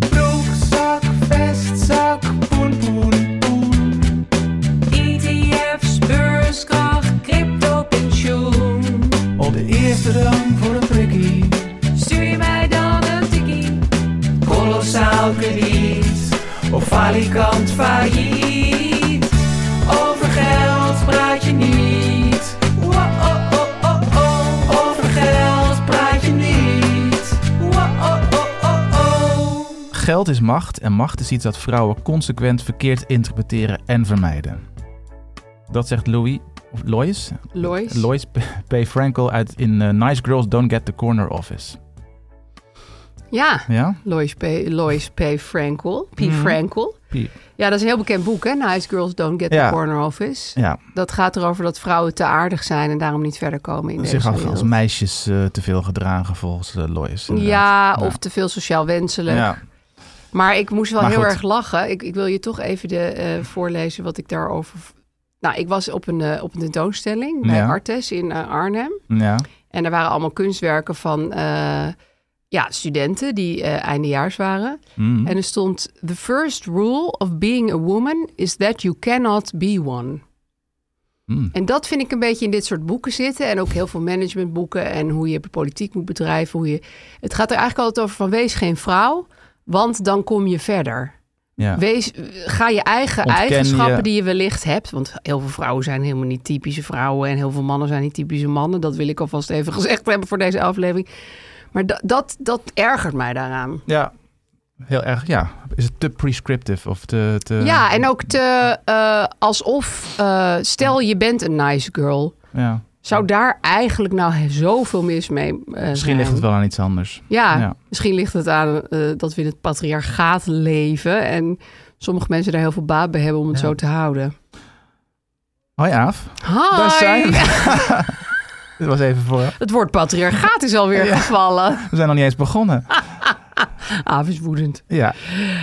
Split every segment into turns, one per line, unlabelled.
Loopzakken, vestzakken, poen, poen, poen. E ETF's, beurskracht, crypto, pensioen. Op de eerste rang voor een prikkie. Stuur je mij dan een tikkie. Kolossaal krediet. Of falikant failliet. Over geld praat je niet. Wa-oh-oh-oh-oh. Over geld praat je niet. Wa-oh-oh-oh-oh.
Geld is macht en macht is iets dat vrouwen consequent verkeerd interpreteren en vermijden. Dat zegt Louis, of Lois,
Lois.
Lois P. P. Frankel uit in eh, Nice Girls Don't Get the Corner Office.
Ja,
Ja?
Lois P. Lois P. Frankel. P.
Mhm.
Frankel.
P.
Ja, dat is een heel bekend boek, hè? Nice Girls Don't Get
Ja.
the Corner Office.
Ja,
Dat gaat erover dat vrouwen te aardig zijn en daarom niet verder komen in
zich
deze
als,
wereld.
als meisjes eh, te veel gedragen volgens eh, Lois.
Ja,
inderdaad.
of te veel sociaal wenselijk.
Ja.
Maar ik moest wel
Maar
heel
goed.
erg lachen. Ik, ik wil je toch even de, eh, voorlezen wat ik daarover... Nou, ik was op een, eh, op een tentoonstelling bij
Ja.
Artes in eh, Arnhem.
Ja.
En er waren allemaal kunstwerken van eh, ja, studenten die eh, eindejaars waren. En er stond: The first rule of being a woman is that you cannot be one. En dat vind ik een beetje in dit soort boeken zitten. En ook heel veel managementboeken. En hoe je politiek moet bedrijven. Hoe je... Het gaat er eigenlijk altijd over van wees geen vrouw. Want dan kom je verder.
ja.
Wees, ga je eigen
Ontken je-
eigenschappen die je wellicht hebt. Want heel veel vrouwen zijn helemaal niet typische vrouwen. En heel veel mannen zijn niet typische mannen. Dat wil ik alvast even gezegd hebben voor deze aflevering. Maar da- dat, dat ergert mij daaraan.
ja. Heel erg, ja. Is het te prescriptive of te... te
ja, en ook te, eh, alsof, eh, stel je bent een nice girl.
ja.
Zou daar eigenlijk nou he- zoveel mis mee eh,
Misschien
zijn?
ligt het wel aan iets anders.
Ja,
Ja.
misschien ligt het aan eh, dat we in het patriarchaat leven. En sommige mensen daar heel veel baat bij hebben om het zo te houden.
Hoi Aaf.
Hi!
Daar zijn we. Dit was even voor.
Het woord patriarchaat is alweer gevallen.
We zijn nog niet eens begonnen.
Ah. Aaf is woedend.
Ja.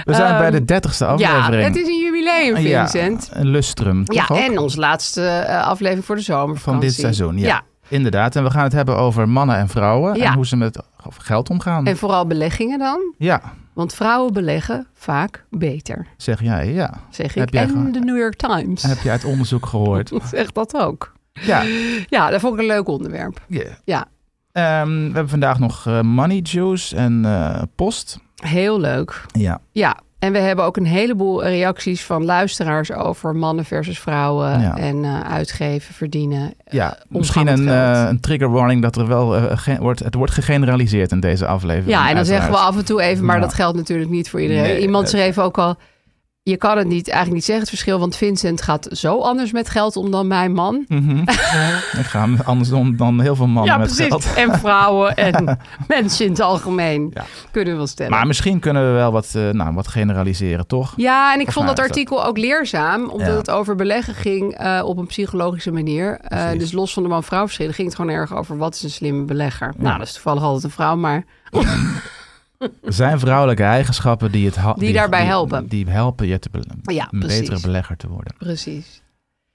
We zijn bij de dertigste
Ehm, Ja,
aflevering.
het is een jubileum,
Ja,
Vincent. Ja.
een lustrum. toch ook?
en onze laatste eh, aflevering voor de zomer
Van dit seizoen, ja.
ja.
Inderdaad. En we gaan het hebben over mannen en vrouwen.
Ja.
En hoe ze met geld omgaan.
En vooral beleggingen dan.
Ja,
Want vrouwen beleggen vaak beter,
zeg jij. Ja.
zeg
Heb
ik.
jij
En
gehoord?
de New York Times
Heb je uit onderzoek gehoord.
zegt dat ook.
ja.
Ja, dat vond ik een leuk onderwerp.
Ja.
Ja,
Ehm, we hebben vandaag nog eh, money juice en eh, post.
heel leuk.
Ja.
Ja, en we hebben ook een heleboel reacties van luisteraars over mannen versus vrouwen.
Ja.
En eh, uitgeven, verdienen.
Ja,
eh,
misschien
omgang
een,
met geld.
eh, een trigger warning dat er wel eh, ge- wordt, het wordt gegeneraliseerd in deze aflevering.
Ja, en dan
uiteraard.
zeggen we af en toe even, maar
Ja.
dat geldt natuurlijk niet voor iedereen.
Nee, eh,
Iemand
het-
schreef ook al, je kan het niet, eigenlijk niet zeggen het verschil, want Vincent gaat zo anders met geld om dan mijn man.
Ik ga hem andersom dan heel veel mannen
ja,
met
precies.
geld.
En vrouwen en mensen in het algemeen
Ja.
kunnen we wel stellen.
Maar misschien kunnen we wel wat, eh, nou, wat generaliseren, toch?
ja, en ik
Of
vond
nou,
dat
is dat-
artikel ook leerzaam, omdat
Ja.
het over beleggen ging eh, op een psychologische manier. Eh,
Precies.
dus los van de man-vrouw verschillen ging het gewoon erg over wat is een slimme belegger. Nou, dat is toevallig altijd een vrouw, maar
Er zijn vrouwelijke eigenschappen die, het ha-
Die daarbij helpen.
Die helpen je te be-
Ja,
een
precies.
betere belegger te worden.
precies.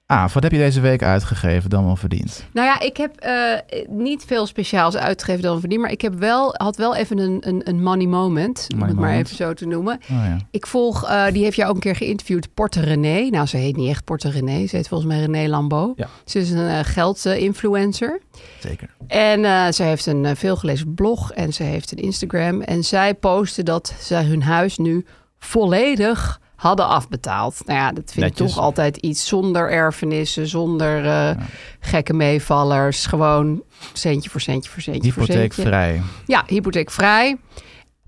Aaf, wat heb je deze week uitgegeven dan wel verdiend?
Nou ja, ik heb eh, niet veel speciaals uitgegeven dan verdiend. Maar ik heb wel, had wel even een, een, een money moment. om
Money
het maar
moment.
even zo te noemen.
Oh ja.
Ik volg, eh, die heeft jou ook een keer geïnterviewd, Porte René. Nou, ze heet niet echt Porte René. Ze heet volgens mij René Lambeau.
Ja.
Ze is een eh, geld-influencer.
Zeker.
En eh, ze heeft een eh, veelgelezen blog en ze heeft een Instagram. En zij postte dat zij hun huis nu volledig hadden afbetaald. Nou ja, dat vind ik
Netjes.
toch altijd iets zonder erfenissen, zonder eh, gekke meevallers. Gewoon centje voor centje voor centje voor centje.
Hypotheekvrij.
Ja, hypotheekvrij.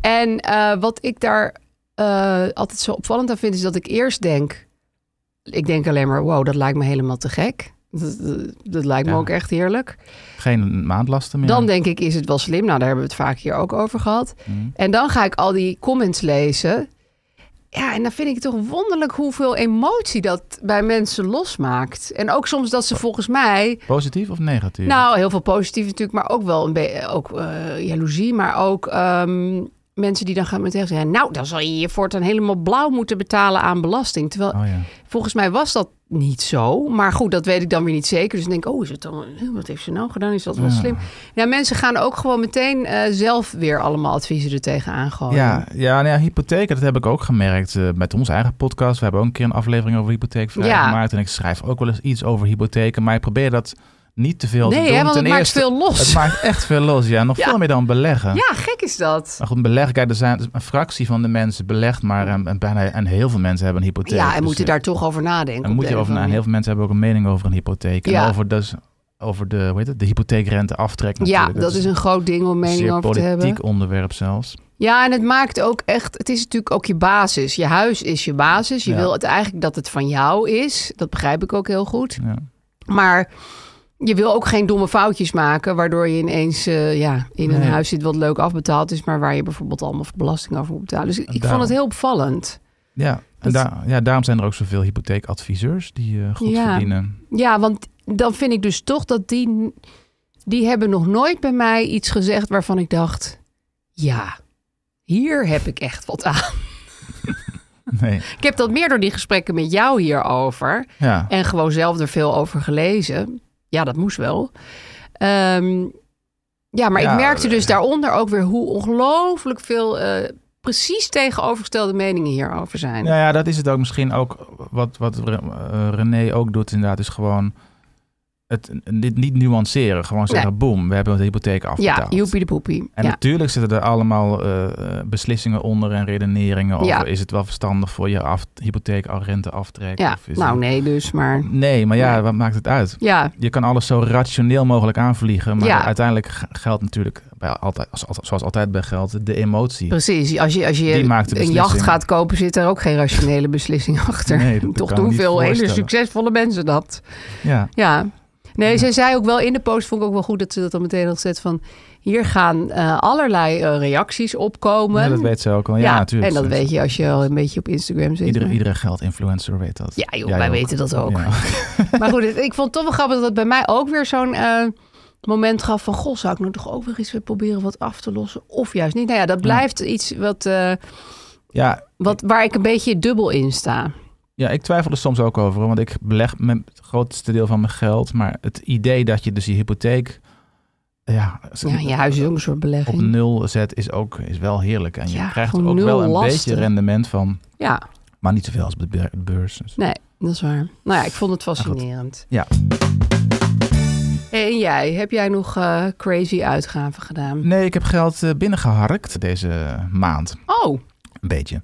En eh, wat ik daar eh, altijd zo opvallend aan vind, is dat ik eerst denk... Ik denk alleen maar, wow, dat lijkt me helemaal te gek. Dat, dat- dat lijkt
Ja.
me ook echt heerlijk.
Geen maandlasten meer.
Dan denk ik, is het wel slim? Nou, daar hebben we het vaak hier ook over gehad.
Mm.
En dan ga ik al die comments lezen. Ja, en dan vind ik het toch wonderlijk hoeveel emotie dat bij mensen losmaakt. En ook soms dat ze volgens mij...
Positief of negatief?
Nou, heel veel positief natuurlijk, maar ook wel een beetje ook, eh, jaloezie. Maar ook ehm, mensen die dan gaan meteen zeggen... Nou, dan zal je je voortaan helemaal blauw moeten betalen aan belasting. Terwijl
Oh ja.
Volgens mij was dat niet zo. Maar goed, dat weet ik dan weer niet zeker. Dus ik denk, oh, is het dan, wat heeft ze nou gedaan? Is dat wel slim? Nou, mensen gaan ook gewoon meteen eh, zelf weer allemaal adviezen er tegenaan gooien.
Ja, ja, nou ja, hypotheken, dat heb ik ook gemerkt eh, met onze eigen podcast. We hebben ook een keer een aflevering over hypotheekvrij
Ja.
gemaakt. En ik schrijf ook wel eens iets over hypotheken. Maar ik probeer dat niet te veel
Nee,
te
hè,
doen.
want
Ten
het maakt
eerste-
veel los.
Het maakt echt veel los, ja. Nog
Ja.
veel meer dan beleggen.
Ja, gek is dat.
Maar goed, beleggen, kijk, er zijn dus een fractie van de mensen belegd, maar eh, bijna en heel veel mensen hebben een hypotheek.
Ja, en
Dus,
moeten
eh,
daar toch over nadenken.
En
op
moet
de
je
een
over
of
na.
andere
Heel veel mensen hebben ook een mening over een hypotheek. En
Ja.
over, dus, over de, hoe heet het, de hypotheekrente aftrek
manier.
natuurlijk.
Ja, dat is een groot ding om mening
zeer
over te hebben.
politiek onderwerp zelfs.
Ja, en het maakt ook echt. Het is natuurlijk ook je basis. Je huis is je basis. Je
Ja.
wil het eigenlijk dat het van jou is. Dat begrijp ik ook heel goed.
Ja.
Maar je wil ook geen domme foutjes maken, waardoor je ineens eh, ja, in een
Nee.
huis zit wat leuk afbetaald is, maar waar je bijvoorbeeld allemaal belasting over moet betalen. Dus ik
daarom.
vond het heel opvallend.
Ja, en
Dat-
daar- ja, daarom zijn er ook zoveel hypotheekadviseurs die eh goed
Ja.
verdienen.
Ja, want dan vind ik dus toch dat die. Die hebben nog nooit bij mij iets gezegd waarvan ik dacht: ja, hier heb ik echt wat aan.
Nee,
Ik heb dat meer door die gesprekken met jou hierover.
ja.
En gewoon zelf er veel over gelezen. Ja, dat moest wel. Ehm, ja, maar
Ja,
ik merkte
eh,
dus daaronder ook weer hoe ongelooflijk veel eh, precies tegenovergestelde meningen hierover zijn.
Nou ja, dat is het ook misschien ook wat, wat Re- eh, René ook doet inderdaad, is gewoon het, dit niet nuanceren. Gewoon zeggen, boem, we hebben de hypotheek
ja,
afbetaald.
joepie de poepie.
En
Ja.
natuurlijk zitten er allemaal eh, beslissingen onder en redeneringen over.
Ja.
Is het wel verstandig voor je af, hypotheek al rente aftrek?
ja,
of is
nou
het-
nee dus, maar
Nee, maar ja,
Nee.
wat maakt het uit?
ja.
Je kan alles zo rationeel mogelijk aanvliegen. Maar
Ja.
uiteindelijk g- geldt natuurlijk, bij altijd, als- als- zoals altijd bij geld, de emotie.
Precies, als je, als
Die
je
maakt de
een
beslissing.
jacht gaat kopen, zit er ook geen rationele beslissing achter.
Nee, dat
Toch
kan ik
doen
me
veel
niet
hele
voorstellen.
succesvolle mensen dat.
Ja.
Ja. Nee, zij zei ook wel in de post, vond ik ook wel goed dat ze dat dan meteen had gezet van... hier gaan eh, allerlei eh, reacties opkomen.
Ja, dat weet ze ook al. Ja, natuurlijk.
En dat
Dus
weet je als je al een beetje op Instagram zit.
Iedere,
maar-
iedere geldinfluencer weet dat.
Ja, joh,
Jij
wij
ook.
weten dat ook.
Ja.
Maar goed, het- ik vond het toch wel grappig dat het bij mij ook weer zo'n eh, moment gaf van... Goh, zou ik nou toch ook weer eens weer proberen wat af te lossen? Of juist niet. Nou ja, dat blijft iets wat, eh,
ja,
wat, waar ik een beetje dubbel in sta.
Ja, ik twijfel er soms ook over, hoor, want ik beleg mijn, het grootste deel van mijn geld. Maar het idee dat je dus je hypotheek ja,
Ja, je huis is ook een soort
op
belegging.
nul zet, is, ook, is wel heerlijk. En je
Ja,
krijgt er
gewoon
ook
nul
wel een
lasten.
beetje rendement van,
Ja,
maar niet zoveel als op de be- beurs. Dus-
nee, dat is waar. Nou ja, ik vond het fascinerend.
Ja.
Hey, en jij, heb jij nog eh, crazy uitgaven gedaan?
Nee, ik heb geld eh, binnengeharkt deze maand.
Oh,
Een beetje.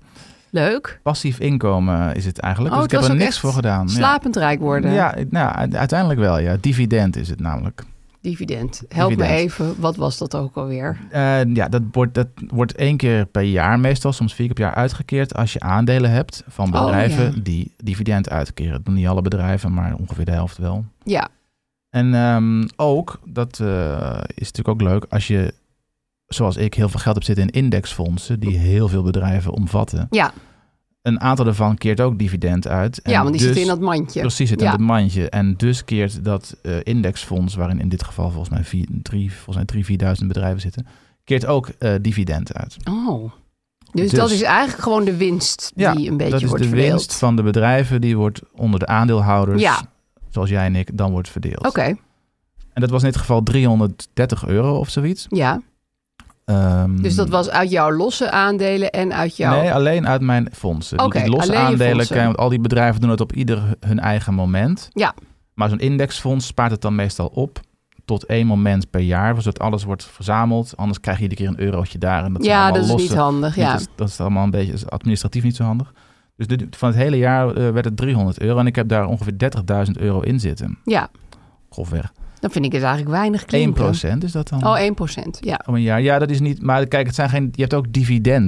leuk.
Passief inkomen is het eigenlijk.
Oh,
dus ik heb
het
er
was
niks
ook echt
voor gedaan.
Slapend rijk
ja.
worden.
Ja, ik- nou, u- uiteindelijk wel. Ja. Dividend is het namelijk.
Dividend. Help me
Dividend.
even, wat was dat ook alweer?
Eh, ja, dat wordt, dat wordt één keer per jaar meestal, soms vier keer per jaar uitgekeerd als je aandelen hebt van
Oh,
bedrijven
ja.
die dividend uitkeren. Dat doen niet alle bedrijven, maar ongeveer de helft wel.
Ja,
En ehm, ook, dat eh, is natuurlijk ook leuk, als je, zoals ik, heel veel geld hebt zitten in indexfondsen, die heel veel bedrijven omvatten.
ja.
Een aantal daarvan keert ook dividend uit. En
ja want die
dus-
zitten in dat mandje.
Precies, het in
ja.
het mandje. En dus keert dat eh, indexfonds, waarin in dit geval volgens mij vier, drie, volgens mij drie, vierduizend bedrijven zitten, keert ook eh, dividend uit.
Oh. Dus,
Dus-
dat is eigenlijk gewoon de winst die een beetje
dat is
wordt
de
verdeeld.
winst van de bedrijven die wordt onder de aandeelhouders
Ja.
zoals jij en ik, dan wordt verdeeld.
Oké,
En dat was in dit geval 330 euro of zoiets.
ja.
Ehm,
Dus dat was uit jouw losse aandelen en uit jouw...
Nee, alleen uit mijn fondsen. Die-
Oké,
die losse
alleen je
aandelen,
fondsen.
kan, want al die bedrijven doen het op ieder hun eigen moment.
Ja.
Maar zo'n indexfonds spaart het dan meestal op tot één moment per jaar, zodat alles wordt verzameld. Anders krijg je iedere keer een eurotje daar. En dat zijn
ja,
allemaal
dat is
losse,
niet handig. Ja.
Dat is, dat is allemaal een beetje is administratief niet zo handig. Dus dit, van het hele jaar eh, werd het 300 euro en ik heb daar ongeveer 30.000 euro in zitten.
ja,
Grofweg. 1%
dan vind ik het eigenlijk weinig klinken.
is dat dan?
Oh, 1 Ja.
Om een jaar. Ja, dat is niet. Maar kijk, het zijn geen. Je hebt ook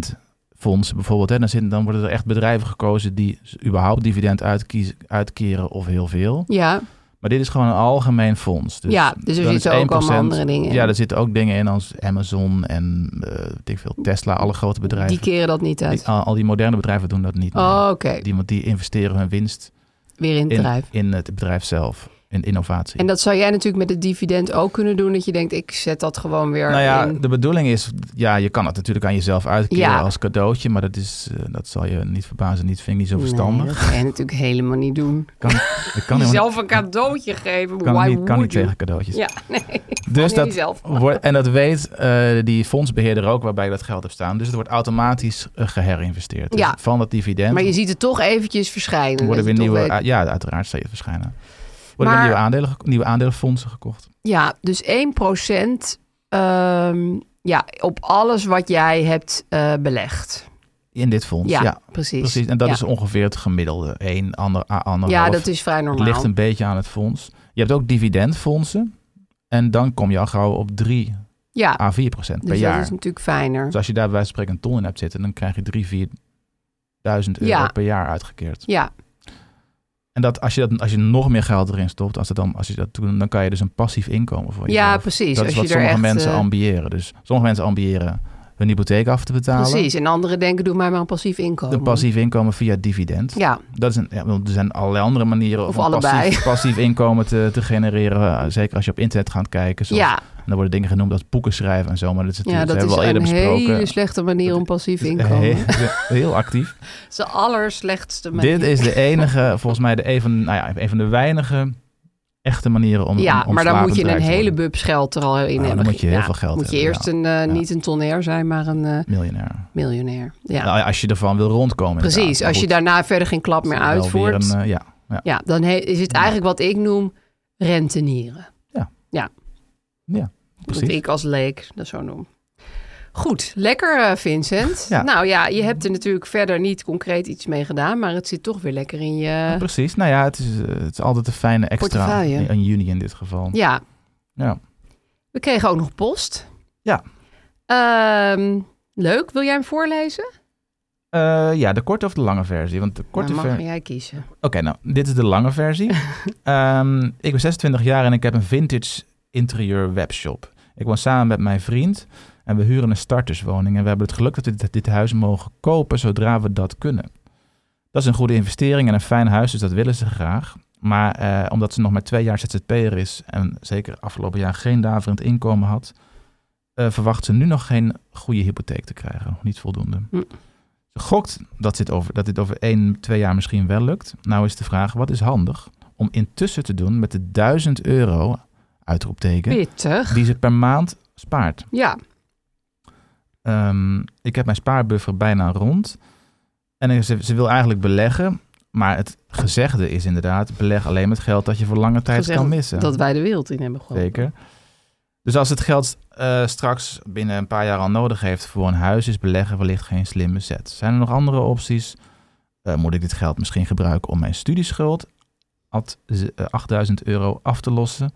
dividendfondsen bijvoorbeeld. Hè. Dan, zitten, dan worden er echt bedrijven gekozen die s- überhaupt dividend uitkiezen, uitkeren of heel veel.
Ja.
Maar dit is gewoon een algemeen fonds. Dus
ja, dus er
dan
zitten
is
ook
1%
allemaal andere dingen in.
Ja, er zitten ook dingen in als Amazon en eh, weet ik veel, Tesla, alle grote bedrijven.
Die keren dat niet uit.
Die- ah, al, al die moderne bedrijven doen dat niet. meer.
Oh, oké.
Die, want die investeren hun winst
Weer in het
in,
bedrijf.
in het bedrijf zelf, in innovatie.
En dat zou jij natuurlijk met het dividend ook kunnen doen. Dat je denkt, ik zet dat gewoon weer
Nou ja,
in.
de bedoeling is, ja, je kan het natuurlijk aan jezelf uitkeren
Ja.
als cadeautje, maar dat, is, eh, dat zal je niet verbazen, niet, vind ik niet zo
Nee,
verstandig.
dat ga je natuurlijk helemaal niet doen.
Kan, dat kan helemaal
Zelf een cadeautje geven.
niet, kan
Why
niet, kan niet
would you?
tegen cadeautjes.
Ja, nee.
dus
nee,
dat
zelf.
wordt, en dat weet eh, die fondsbeheerder ook, waarbij ik dat geld heb staan. Dus het wordt automatisch eh, geherinvesteerd. Dus
Ja.
Van dat dividend
Maar je ziet het toch eventjes verschijnen.
worden
dat
weer
je toch
nieuwe, a-
weet-
ja, uiteraard zal je het verschijnen. Worden
Maar-
weer nieuwe, aandelen, geko- nieuwe aandelenfondsen gekocht.
Ja, dus 1% ehm, ja, op alles wat jij hebt eh, belegd.
In dit fonds,
Ja,
ja.
precies.
Precies, en dat
Ja.
is ongeveer het gemiddelde. 1, ander, a- anderhalf.
Ja, dat is vrij
Het
normaal.
ligt een beetje aan het fonds. Je hebt ook dividendfondsen. En dan kom je al gauw op 3
ja,
à 4 procent
dus
per
dat
jaar.
is natuurlijk fijner.
Dus als je daar bij wijze van spreken een ton in hebt zitten, dan krijg je 3, 4 duizend euro
Ja.
per jaar uitgekeerd.
Ja,
En dat als, je dat, als je nog meer geld erin stopt, als, dat dan, als je dat doet, dan kan je dus een passief inkomen voor jezelf.
ja precies.
Dat
als
is wat
je er
sommige
echt,
mensen
eh,
ambiëren. Dus sommige mensen ambiëren hun hypotheek af te betalen.
Precies, en anderen denken, doe mij maar een passief inkomen.
Een passief inkomen via dividend.
Ja,
Dat is een, ja, want er zijn allerlei andere manieren
Of
om een
allebei.
passief, passief inkomen te, te genereren. Eh, Zeker als je op internet gaat kijken. Zoals,
ja.
En dan worden dingen genoemd als boeken schrijven en zo. Maar dat is
ja
natuurlijk,
dat
dat
is
hebben we al
een
eerder besproken.
hele slechte manier om passief inkomen.
Heel, heel actief.
Het is de allerslechtste manier.
Dit is de enige, volgens mij de een van, nou ja, een van de weinige echte manieren om
ja,
om- om
maar dan
slapend
moet je
rijk
een
te
hele
worden.
bubs geld er al in
dan
hebben.
moet je heel
Ja,
veel geld
Moet je
hebben,
eerst
ja.
een, eh,
Ja.
niet een tonner zijn, maar een eh,
miljonair.
miljonair. Ja,
Nou, als je ervan wil rondkomen.
precies. Als je daarna verder geen klap meer uitvoert,
ja, eh, ja,
ja, dan he- is het eigenlijk wat ik noem rentenieren.
ja,
Wat
precies.
ik als leek dat zo noem. Goed, lekker eh, Vincent.
Ja.
Nou ja, je hebt er natuurlijk verder niet concreet iets mee gedaan, maar het zit toch weer lekker in je...
Precies. Nou ja, het is, eh, het is altijd een fijne extra.
Portefeuille.
In juni in dit geval.
Ja,
ja.
we kregen ook nog post.
Ja.
Ehm, leuk, wil jij hem voorlezen?
Eh, ja, de korte of de lange versie? Want de korte
Nou,
ver-
mag jij kiezen.
Oké, nou, dit is de lange versie. Ehm, ik ben 26 jaar en ik heb een vintage interieur webshop. Ik woon samen met mijn vriend en we huren een starterswoning. En we hebben het geluk dat we dit, dit huis mogen kopen zodra we dat kunnen. Dat is een goede investering en een fijn huis, dus dat willen ze graag. Maar eh, omdat ze nog maar twee jaar ZZP'er is en zeker afgelopen jaar geen daverend inkomen had, eh, verwacht ze nu nog geen goede hypotheek te krijgen. Nog niet voldoende.
Hm.
Ze gokt dat dit, over, dat dit over één, twee jaar misschien wel lukt. Nou is de vraag, wat is handig om intussen te doen met de 1000 euro, uitroepteken,
Pittig.
die ze per maand spaart?
Ja,
Ehm, ik heb mijn spaarbuffer bijna rond. En ze, ze wil eigenlijk beleggen. Maar het gezegde is inderdaad, beleg alleen met geld dat je voor lange tijd
gezegd
kan missen.
dat wij de wereld in hebben geholpen.
Zeker. Dus als het geld eh, straks binnen een paar jaar al nodig heeft voor een huis, is beleggen wellicht geen slimme zet. Zijn er nog andere opties? Eh, moet ik dit geld misschien gebruiken om mijn studieschuld at z- eh, 8000 euro af te lossen?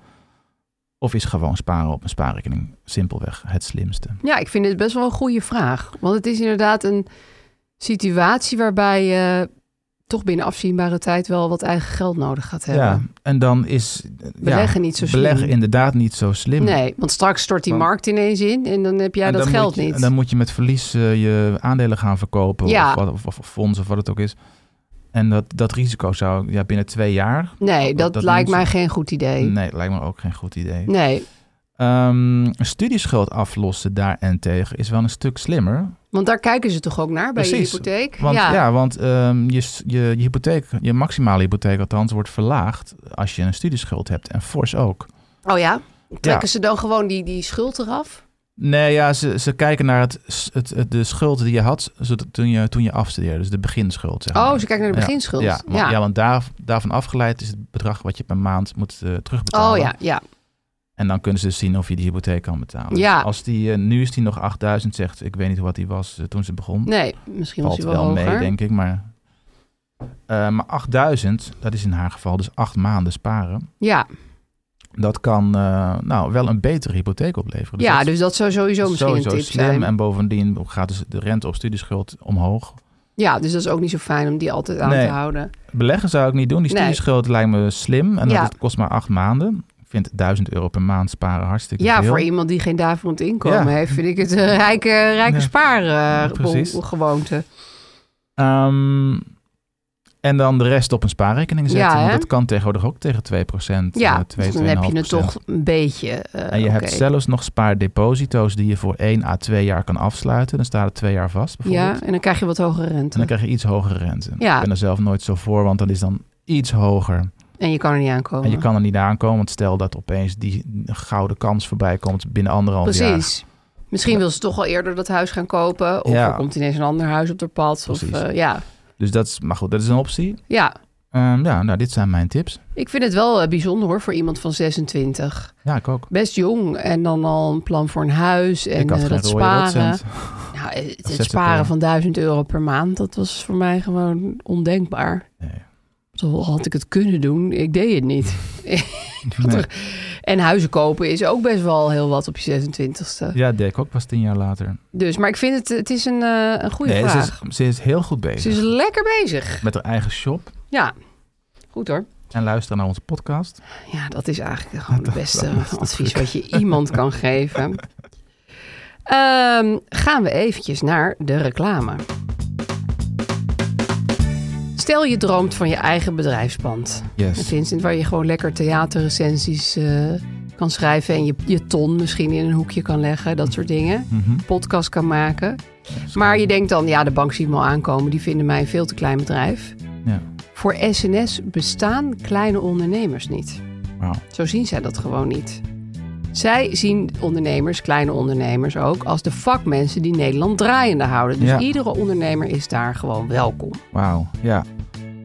Of is gewoon sparen op een spaarrekening simpelweg het slimste?
Ja, ik vind het best wel een goede vraag. Want het is inderdaad een situatie waarbij je toch binnen afzienbare tijd wel wat eigen geld nodig gaat hebben.
Ja, en dan is eh,
Beleggen
ja,
Ehm, niet zo
beleggen
slim.
inderdaad niet zo slim.
Nee, want straks stort die
Want-
markt ineens in en dan heb jij
En
dat
dan
geld
moet je-
niet.
En dan moet je met verlies eh, je aandelen gaan verkopen
Ja.
of, wat- of, of fondsen of wat het ook is. En dat, dat risico zou ja, binnen twee jaar...
nee, dat,
dat
lijkt
moet-
mij geen goed idee. Nee.
Nee, lijkt me ook geen goed idee. Ehm, een studieschuld aflossen daarentegen is wel een stuk slimmer.
Want daar kijken ze toch ook naar bij
Precies.
je hypotheek?
Want, ja. want ehm, je, s- je, je hypotheek, je maximale hypotheek althans, wordt verlaagd als je een studieschuld hebt. En fors ook.
Oh ja? Trekken
Ja.
ze dan gewoon die, die schuld eraf?
Nee, ja, ze, ze kijken naar het, s- het, het- de schuld die je had zodat toen, je, toen je afstudeerde. Dus de beginschuld. Zeg
Oh,
maar.
ze kijken naar de
Ja,
beginschuld.
Ja, want,
Ja.
ja, want daar, daarvan afgeleid is het bedrag wat je per maand moet eh, terugbetalen.
Oh ja, ja.
En dan kunnen ze dus zien of je die hypotheek kan betalen. Dus
Ja.
als die, eh, nu is die nog 8000, zegt ik weet niet wat die was eh, toen ze begon.
Nee, misschien was
Valt
hij
wel
wel, hoger.
mee, denk ik. Maar, Eh, maar 8000, dat is in haar geval dus acht maanden sparen.
Ja,
Dat kan eh, nou, wel een betere hypotheek opleveren.
ja
dat is
dus dat zou sowieso misschien
sowieso
een tip
slim.
zijn.
En bovendien gaat dus de rente op studieschuld omhoog.
Ja, dus dat is ook niet zo fijn om die altijd aan
Nee.
te houden.
Beleggen zou ik niet doen. Die
Nee.
studieschuld lijkt me slim. En dat
Ja.
het kost maar acht maanden. Ik vind 1000 euro per maand sparen hartstikke
Ja,
veel.
voor iemand die geen daverend inkomen
Ja.
heeft, vind ik het een rijke, rijke
Ja.
spaar
Precies.
spaargewoonte.
Ehm, en dan de rest op een spaarrekening zetten.
Ja,
want
hè?
dat kan tegenwoordig ook tegen 2%.
ja, dus
eh, 2,
dan heb je het
2,5%.
toch een beetje. eh,
En je hebt
oké.
zelfs nog spaardeposito's die je voor 1 à 2 jaar kan afsluiten. Dan staat het 2 jaar vast bijvoorbeeld.
Ja, en dan krijg je wat hogere
En
rente.
dan krijg je iets hogere rente.
Ja.
Ik ben er zelf nooit zo voor, want dat is dan iets hoger.
En je kan er niet aankomen.
En je kan er niet aankomen, want stel dat opeens die gouden kans voorbij komt binnen anderhalf jaar.
Precies. Misschien wil ze toch al eerder dat huis gaan kopen. Of
Ja.
er komt ineens een ander huis op haar pad. Of,
Precies.
eh, ja.
Dus dat is, maar goed, dat is een optie.
ja,
Ehm, ja, nou, dit zijn mijn tips.
ik vind het wel eh, bijzonder hoor voor iemand van 26.
Ja, ik ook.
Best jong en dan al een plan voor een huis en
ik had
eh,
geen
dat
rode
sparen.
rotcent.
Nou, eh, het,
Als
het sparen
ZZP'er.
van 1000 euro per maand, dat was voor mij gewoon ondenkbaar.
Nee.
Zo had ik het kunnen doen, ik deed het niet.
Nee.
En huizen kopen is ook best wel heel wat op je 26e.
Ja, deed ik ook pas tien jaar later.
Dus, maar ik vind het, het is een, eh, een goede
nee, ze
vraag.
is, ze is heel goed bezig.
Ze is lekker bezig.
Met haar eigen shop.
Ja, goed hoor.
En luisteren naar onze podcast.
Ja, dat is eigenlijk gewoon het
Dat-
beste
dat is toch
advies wat je iemand kan geven. Ehm, gaan we eventjes naar de reclame. Stel je droomt van je eigen bedrijfspand.
Yes.
Vincent, waar je gewoon lekker theaterrecensies eh, kan schrijven... en je, je ton misschien in een hoekje kan leggen, dat soort dingen.
Mhm.
Podcast kan maken. Maar je denkt dan, ja, de bank ziet me al aankomen. Die vinden mij een veel te klein bedrijf.
Ja,
Voor SNS bestaan kleine ondernemers niet.
wauw.
Zo zien zij dat gewoon niet. Zij zien ondernemers, kleine ondernemers ook, als de vakmensen die Nederland draaiende houden. Dus
Ja.
iedere ondernemer is daar gewoon welkom.
Wauw, ja.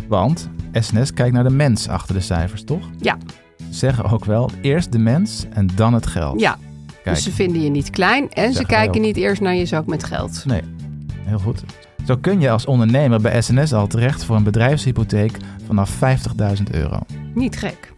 Want SNS kijkt naar de mens achter de cijfers, toch?
Ja,
Ze Zeggen ook wel, eerst de mens en dan het geld.
ja.
Kijk,
dus ze vinden je niet klein en ze
Zeggen
kijken
wel.
niet eerst naar je zak met geld.
Nee, heel goed. Zo kun je als ondernemer bij SNS al terecht voor een bedrijfshypotheek vanaf 50.000 euro.
Niet gek.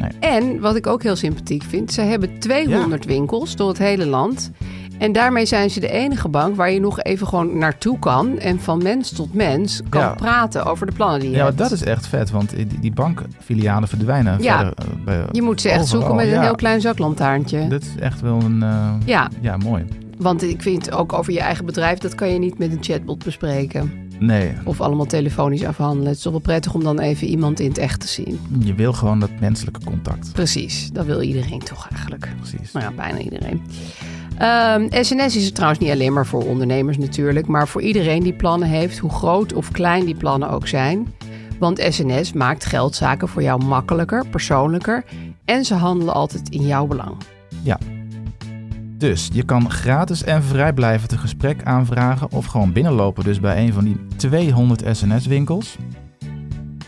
Nee.
En wat ik ook heel sympathiek vind, zij hebben 200 winkels door het hele land. En daarmee zijn ze de enige bank waar je nog even gewoon naartoe kan en van mens tot mens kan
Ja.
praten over de plannen die je
Ja, maar
hebt.
dat is echt vet, want die, die bankfilialen verdwijnen.
Ja.
verder, eh, bij-
Je moet ze echt
overal.
zoeken met
Ja,
een heel klein zaklantaarntje.
Dat is echt wel een... eh,
Ja,
ja, mooi.
want ik vind ook over je eigen bedrijf, dat kan je niet met een chatbot bespreken.
Nee,
Of allemaal telefonisch afhandelen. Het is toch wel prettig om dan even iemand in het echt te zien.
je wil gewoon dat menselijke contact.
Precies, dat wil iedereen toch eigenlijk.
Precies.
Nou ja, bijna iedereen. Ehm, SNS is het trouwens niet alleen maar voor ondernemers natuurlijk, maar voor iedereen die plannen heeft, hoe groot of klein die plannen ook zijn. Want SNS maakt geldzaken voor jou makkelijker, persoonlijker en ze handelen altijd in jouw belang.
Ja. Dus je kan gratis en vrijblijvend een gesprek aanvragen of gewoon binnenlopen dus bij een van die 200 SNS-winkels.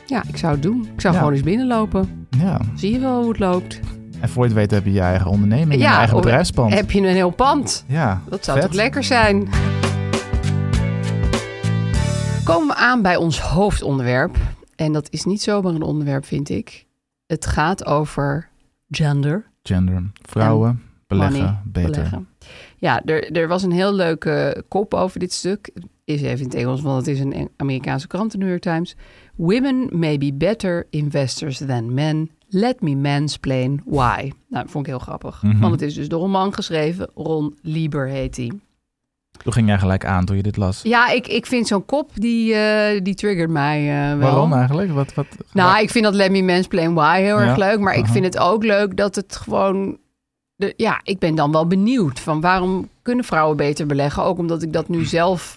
Ja, ik zou het doen. Ik zou
Ja.
gewoon eens binnenlopen.
Ja.
Zie je wel hoe het loopt.
En voor je het weet heb je je eigen onderneming, je eigen
of
bedrijfspand.
Heb je een heel pand?
ja,
Dat zou
vet.
toch lekker zijn? Komen we aan bij ons hoofdonderwerp. En dat is niet zomaar een onderwerp, vind ik. Het gaat over gender.
Gender, vrouwen, beleggen,
money,
beter.
beleggen. Ja, er, er was een heel leuke kop over dit stuk. Is even in het Engels, want het is een Eng- Amerikaanse krant, de New York Times. Women may be better investors than men. Let me mansplain why. Nou, dat vond ik heel grappig.
Mhm.
Want het is dus door een man geschreven. Ron Lieber heet hij.
Toen ging jij gelijk aan toen je dit las.
Ja, ik, ik vind zo'n kop, die, eh, die triggert mij eh, wel.
Waarom eigenlijk? Wat, wat,
Nou, ik vind dat Let Me Mansplain Why heel
Ja,
erg leuk. Maar ik
aha.
vind het ook leuk dat het gewoon de, ja, ik ben dan wel benieuwd van waarom kunnen vrouwen beter beleggen? Ook omdat ik dat nu zelf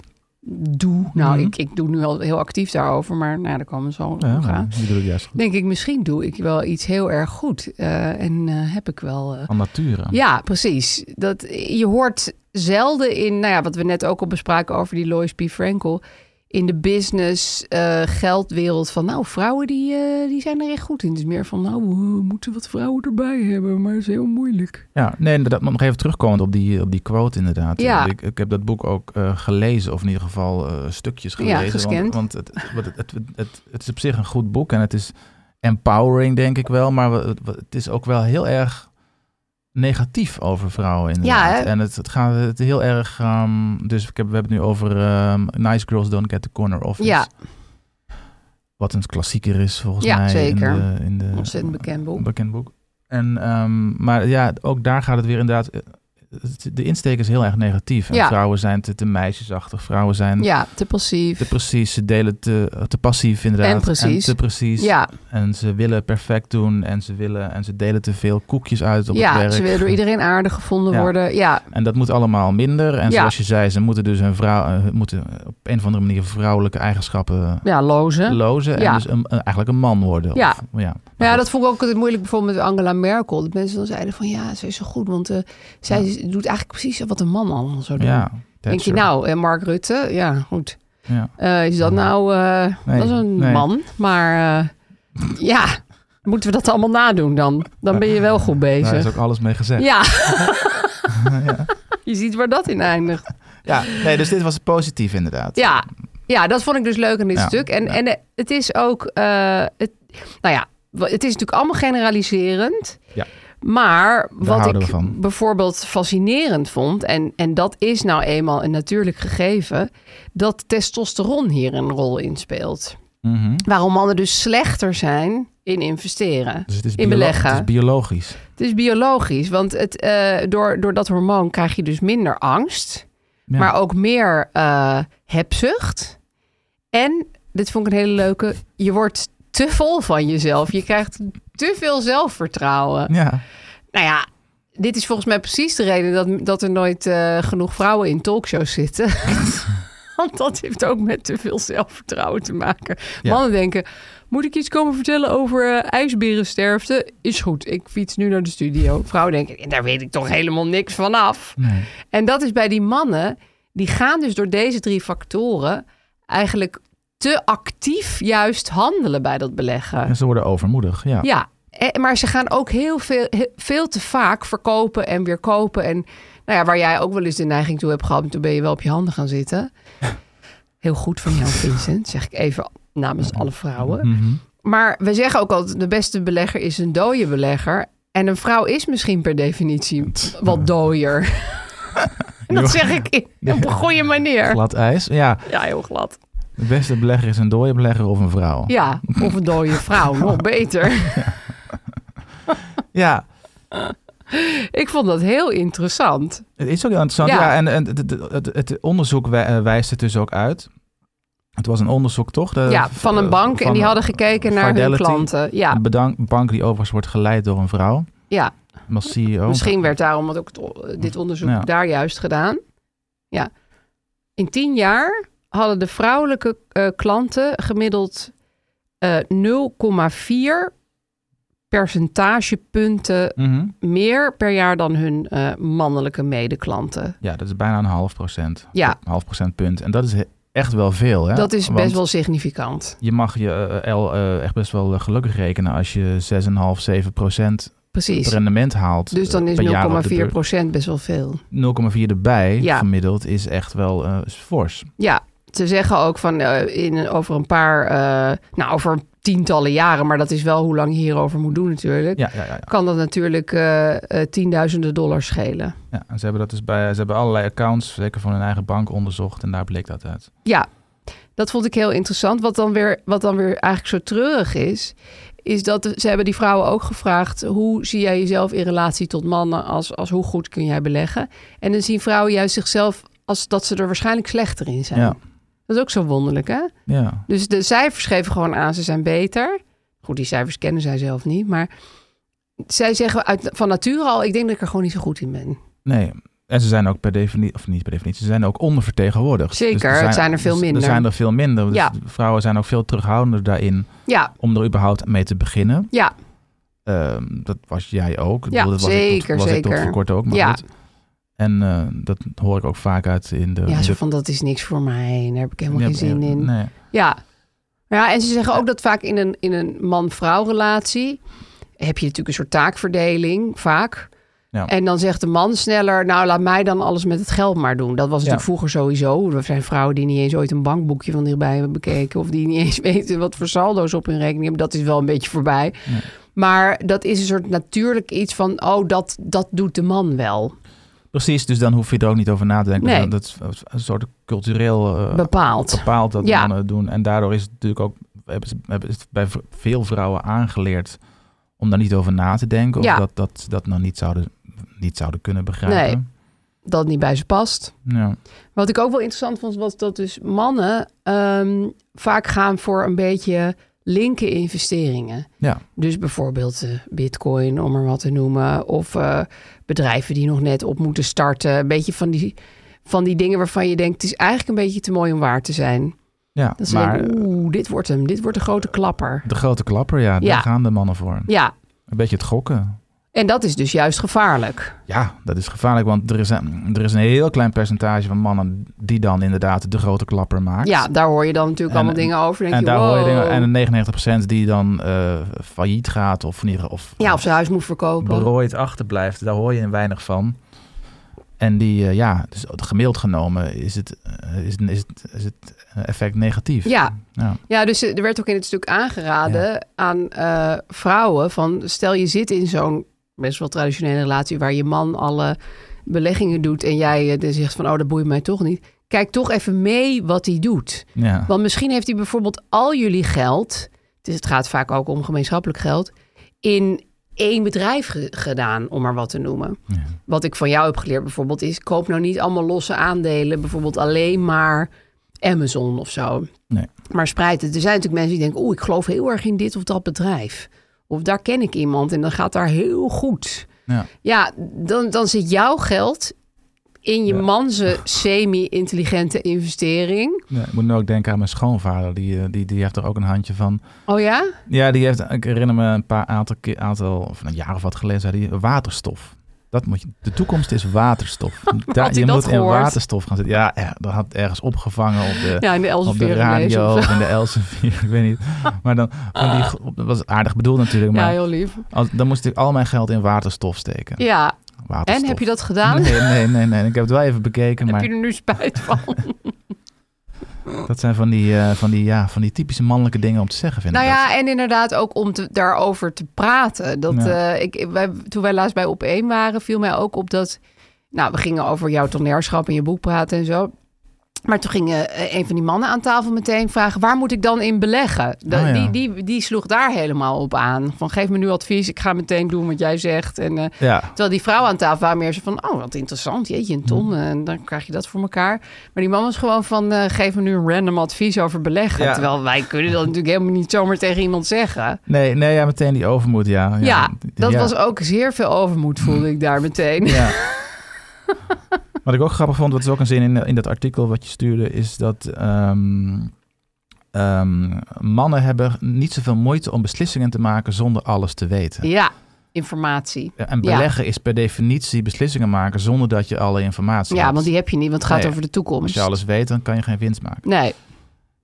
doe. Nou, ik, ik doe nu al heel actief daarover, maar nou, daar komen we zo op
Mhm. Ja,
aan.
maar die doet het juist goed.
Denk ik, misschien doe ik wel iets heel erg goed. eh, en eh, heb ik wel... eh,
Van nature.
ja, precies. Dat, je hoort zelden in, nou ja, wat we net ook al bespraken over die Lois P. Frankel. In de business, eh, geldwereld van nou, vrouwen die, eh, die zijn er echt goed in. Het is meer van nou, we moeten wat vrouwen erbij hebben, maar het is heel moeilijk.
Ja, nee, inderdaad. maar Nog even terugkomend op die, op die quote inderdaad.
Ja.
Ik, ik heb dat boek ook eh, gelezen, of in ieder geval eh, stukjes
Ja,
gelezen.
gescand.
Want, want het, wat het, het, het, het is op zich een goed boek en het is empowering, denk ik wel. Maar wat- wat- het is ook wel heel erg negatief over vrouwen inderdaad.
hè?
en het, het gaat het heel erg... ehm, dus ik heb, we hebben het nu over ehm, Nice Girls Don't Get the Corner Office.
Ja.
Wat een klassieker is volgens
Ja,
mij. in
zeker.
de- in de-
Ontzettend bekend boek.
een bekend boek. En, ehm, maar ja, ook daar gaat het weer inderdaad. eh, het- De insteek is heel erg negatief. En
Ja.
Vrouwen zijn te, te meisjesachtig. Vrouwen zijn
Ja, te passief.
te precies. Ze delen te, te passief inderdaad.
En precies.
te precies.
ja,
En ze willen perfect doen. En ze, willen, en ze delen te veel koekjes uit op het
ja
werk.
ze willen door iedereen aardig gevonden
Ja.
worden. Ja,
En dat moet allemaal minder. En
Ja.
zoals je zei, ze moeten dus hun vrouw, eh, moeten op een of andere manier vrouwelijke eigenschappen
ja lozen.
lozen. En
Ja.
dus een, een- eigenlijk een man worden.
Ja.
Of- ja.
Nou ja, dat vond ik ook altijd moeilijk bijvoorbeeld met Angela Merkel. Dat mensen dan zeiden van ja, ze is zo goed, want eh, zij doet eigenlijk precies wat een man allemaal zou doen.
Ja,
Denk je
Thatcher.
nou, eh, Mark Rutte, ja goed.
Ja.
Eh, is dat nou, eh,
Nee,
dat is een
nee.
man, maar eh, ja, moeten we dat allemaal nadoen dan? Dan ben je wel goed
Daar
bezig.
Nou, is ook alles mee gezegd.
Ja, je ziet waar dat in eindigt.
Ja, nee, dus dit was positief inderdaad.
Ja, ja dat vond ik dus leuk in dit
Ja,
stuk. En,
ja.
en eh, het is ook, eh, het, nou ja, wa- het is natuurlijk allemaal generaliserend.
Ja.
Maar wat
houden
ik
we van.
bijvoorbeeld fascinerend vond, en, en dat is nou eenmaal een natuurlijk gegeven, dat testosteron hier een rol in speelt.
Mhm.
Waarom mannen dus slechter zijn in investeren,
Dus het is, biolo-
in beleggen.
het is biologisch.
Het is biologisch, want het, eh, door, door dat hormoon krijg je dus minder angst,
Ja.
maar ook meer eh, hebzucht. En, dit vond ik een hele leuke, je wordt te vol van jezelf. Je krijgt te veel zelfvertrouwen.
Ja,
Nou ja, dit is volgens mij precies de reden dat, dat er nooit eh, genoeg vrouwen in talkshows zitten. Want dat heeft ook met te veel zelfvertrouwen te maken.
Ja.
Mannen denken, moet ik iets komen vertellen over eh, ijsberensterfte? Is goed, ik fiets nu naar de studio. Vrouwen denken, daar weet ik toch helemaal niks van af. En dat is bij die mannen, die gaan dus door deze drie factoren eigenlijk te actief juist handelen bij dat beleggen.
en ze worden overmoedig. Ja.
Ja, eh, maar ze gaan ook heel veel, he- veel te vaak verkopen en weer kopen. En nou ja, waar jij ook wel eens de neiging toe hebt gehad, maar toen ben je wel op je handen gaan zitten. Heel goed van jou, Vincent, zeg ik even namens alle vrouwen.
Mhm.
Maar we zeggen ook altijd, de beste belegger is een dode belegger. En een vrouw is misschien per definitie wat dooier. En dat zeg ik in- op een goede manier.
Glad ijs. Ja,
Ja, heel glad.
de beste belegger is een dode belegger of een vrouw.
Ja, of een dode vrouw, nog beter.
Ja,
Ik vond dat heel interessant.
het is ook heel interessant. Ja,
Ja.
en, en het, het- het, het onderzoek wij- eh, wijst het dus ook uit. Het was een onderzoek, toch? De-
Ja, van een bank.
eh, van
en die
een-
hadden gekeken naar hun
Fidelity.
klanten. Ja,
Een bedank- bank die overigens wordt geleid door een vrouw.
ja.
Als E CEO.
misschien werd daarom want ook het o- dit onderzoek
Oh. Ja.
daar juist gedaan. Ja. In tien jaar hadden de vrouwelijke eh, klanten gemiddeld eh 0,4 percentagepunten
Mhm.
meer per jaar dan hun eh, mannelijke medeklanten.
Ja, dat is bijna een half procent.
Ja.
Een half procent punt. En dat is he- echt wel veel. Hè?
Dat is best
Want-
wel significant.
je mag je eh, L eh, echt best wel eh, gelukkig rekenen als je 6,5, 7 procent
Precies.
rendement haalt.
Dus dan
eh,
is
per jaar op de
0,4
beurs.
procent best wel veel.
0,4 erbij
Ja.
gemiddeld is echt wel eh, is fors.
Ja, ze zeggen ook van eh, in, over een paar, eh, nou over tientallen jaren, maar dat is wel hoe lang je hierover moet doen natuurlijk.
Ja, ja, ja, ja.
Kan dat natuurlijk eh, eh, tienduizenden dollars schelen.
ja. En ze hebben dat dus bij, ze hebben allerlei accounts, zeker van hun eigen bank, onderzocht en daar bleek dat uit.
Ja, dat vond ik heel interessant. Wat dan weer, wat dan weer eigenlijk zo treurig is, is dat de- ze hebben die vrouwen ook gevraagd... hoe zie jij jezelf in relatie tot mannen als, als hoe goed kun jij beleggen? En dan zien vrouwen juist zichzelf als dat ze er waarschijnlijk slechter in zijn.
Ja.
Dat is ook zo wonderlijk, hè?
Ja.
Dus de cijfers geven gewoon aan, ze zijn beter. Goed, die cijfers kennen zij zelf niet, maar Zij zeggen uit, van nature al, ik denk dat ik er gewoon niet zo goed in ben.
Nee. En ze zijn ook per definitie, of niet per definitie, ze zijn ook ondervertegenwoordigd. Dus
Zeker,
er
het zijn er veel minder.
Er zijn er veel minder. Dus
Ja.
Vrouwen zijn ook veel terughoudender daarin
Ja,
om er überhaupt mee te beginnen.
ja,
Ehm, dat was jij ook. Ik
Ja,
bedoel, dat was ik
zeker,
tot, was Ik tot
zeker.
voor kort ook. Maar
Ja.
goed. En eh, dat hoor ik ook vaak uit in de...
ja,
in
zo
de-
van dat is niks voor mij. en Daar heb ik helemaal geen zin in.
Nee.
Ja. ja, en ze zeggen ook dat vaak in een, in een man-vrouw relatie heb je natuurlijk een soort taakverdeling, vaak.
Ja.
En dan zegt de man sneller, nou laat mij dan alles met het geld maar doen. Dat was natuurlijk
Ja.
vroeger sowieso. Er zijn vrouwen die niet eens ooit een bankboekje van dichtbij hebben bekeken. Of die niet eens weten wat voor saldo's op hun rekening hebben. Dat is wel een beetje voorbij. Maar dat is een soort natuurlijk iets van, oh dat, dat doet de man wel.
Precies, dus dan hoef je er ook niet over na te denken.
Nee.
Dat is een soort cultureel eh,
Bepaald.
bepaald dat
Ja.
mannen het doen. En daardoor is het natuurlijk ook hebben ze, hebben ze bij v- veel vrouwen aangeleerd om daar niet over na te denken. Of
Ja.
dat, dat ze dat nou niet zouden, niet zouden kunnen begrijpen.
Dat het niet bij ze past.
Ja.
Wat ik ook wel interessant vond, was dat dus mannen ehm, vaak gaan voor een beetje linker investeringen.
Ja.
Dus bijvoorbeeld eh, bitcoin, om er wat te noemen. Of eh, bedrijven die nog net op moeten starten. Een beetje van die, van die dingen waarvan je denkt, het is eigenlijk een beetje te mooi om waar te zijn.
ja.
Dat ze
Maar eh,
denken, oeh, dit wordt hem, dit wordt een grote klapper.
de grote klapper, ja, daar
Ja.
gaan de mannen voor.
Ja,
Een beetje het gokken.
en dat is dus juist gevaarlijk.
Ja, dat is gevaarlijk, want er is, een, er is een heel klein percentage van mannen die dan inderdaad de grote klapper maakt.
Ja, daar hoor je dan
En-
natuurlijk allemaal dingen over. Denk
en
je,
daar hoor je dingen,
wow.
en 99% die dan eh, failliet gaat of, in ieder geval- of,
ja, of ze huis moet verkopen.
berooid achterblijft, daar hoor je weinig van. En die, eh, ja, dus gemiddeld genomen is het, eh, is, is het, is het effect negatief.
Ja.
Ja.
Ja, dus eh, er werd ook in het stuk aangeraden aan eh, vrouwen van stel je zit in zo'n best wel traditionele relatie waar je man alle beleggingen doet en jij eh, dan zegt van oh dat boeit mij toch niet. Kijk toch even mee wat hij doet.
Ja.
Want misschien heeft hij bijvoorbeeld al jullie geld, dus het gaat vaak ook om gemeenschappelijk geld, in één bedrijf ge- gedaan, om maar wat te noemen. Wat ik van jou heb geleerd bijvoorbeeld is, koop nou niet allemaal losse aandelen, bijvoorbeeld alleen maar Amazon of zo.
Nee.
Maar spreid het. Er zijn natuurlijk mensen die denken, oeh, ik geloof heel erg in dit of dat bedrijf. Of daar ken ik iemand en dan gaat daar heel goed.
Ja.
Ja, dan, dan zit jouw geld in je
Ja.
manse semi-intelligente investering.
Ja, ik moet nu ook denken aan mijn schoonvader, die, eh, die, die heeft er ook een handje van.
Oh ja?
Ja, die heeft, ik herinner me een paar aantal, keer- aantal of een jaar of wat geleden, zei hij waterstof. Dat moet je, de toekomst is waterstof. Daar-
hij
je
dat
moet in
gehoord?
waterstof gaan zitten. Ja, er- dat had ergens opgevangen op de,
Ja, in de
op de
Elsevier gelezen
radio
of
of
zo. Ah.
in de Elsevier, ik weet niet. Maar dan, van die, go- dat was aardig bedoeld natuurlijk,
Ja,
maar
heel lief.
als, dan moest ik al mijn geld in waterstof steken.
Ja,
Waterstof.
en heb je dat gedaan?
Nee, nee, nee, nee. Ik heb het wel even bekeken,
Heb
maar
je er nu spijt van?
dat zijn van die, eh, van, die, ja, van die typische mannelijke dingen om te zeggen, vind
Nou
ik. dat.
ja, en inderdaad ook om te, daarover te praten. Dat,
Ja.
eh, ik, wij, toen wij laatst bij op één waren, viel mij ook op dat... Nou, we gingen over jouw toneelschap en je boek praten en zo. Maar toen ging eh, een van die mannen aan tafel meteen vragen... waar moet ik dan in beleggen? Da-
Oh ja.
die, die, die sloeg daar helemaal op aan. Van geef me nu advies, ik ga meteen doen wat jij zegt. En, eh,
Ja,
Terwijl die vrouw aan tafel waren meer zo van... oh, wat interessant, jeetje, een
Hmm.
ton. En dan krijg je dat voor elkaar. Maar die man was gewoon van... eh, geef me nu een random advies over beleggen.
Ja.
Terwijl wij kunnen dat natuurlijk helemaal niet zomaar tegen iemand zeggen.
nee, nee, ja, meteen die overmoed, ja.
Ja, dat
ja.
was ook zeer veel overmoed, voelde ik daar meteen.
Ja. wat ik ook grappig vond, wat is ook een zin in, in dat artikel wat je stuurde, is dat ehm, ehm, mannen hebben niet zoveel moeite om beslissingen te maken zonder alles te weten.
Ja, informatie.
En
Ja.
beleggen is per definitie beslissingen maken zonder dat je alle informatie
Ja,
hebt.
want die heb je niet, want het gaat
Nee,
over de
Als
toekomst.
je alles weet, dan kan je geen winst maken.
Nee,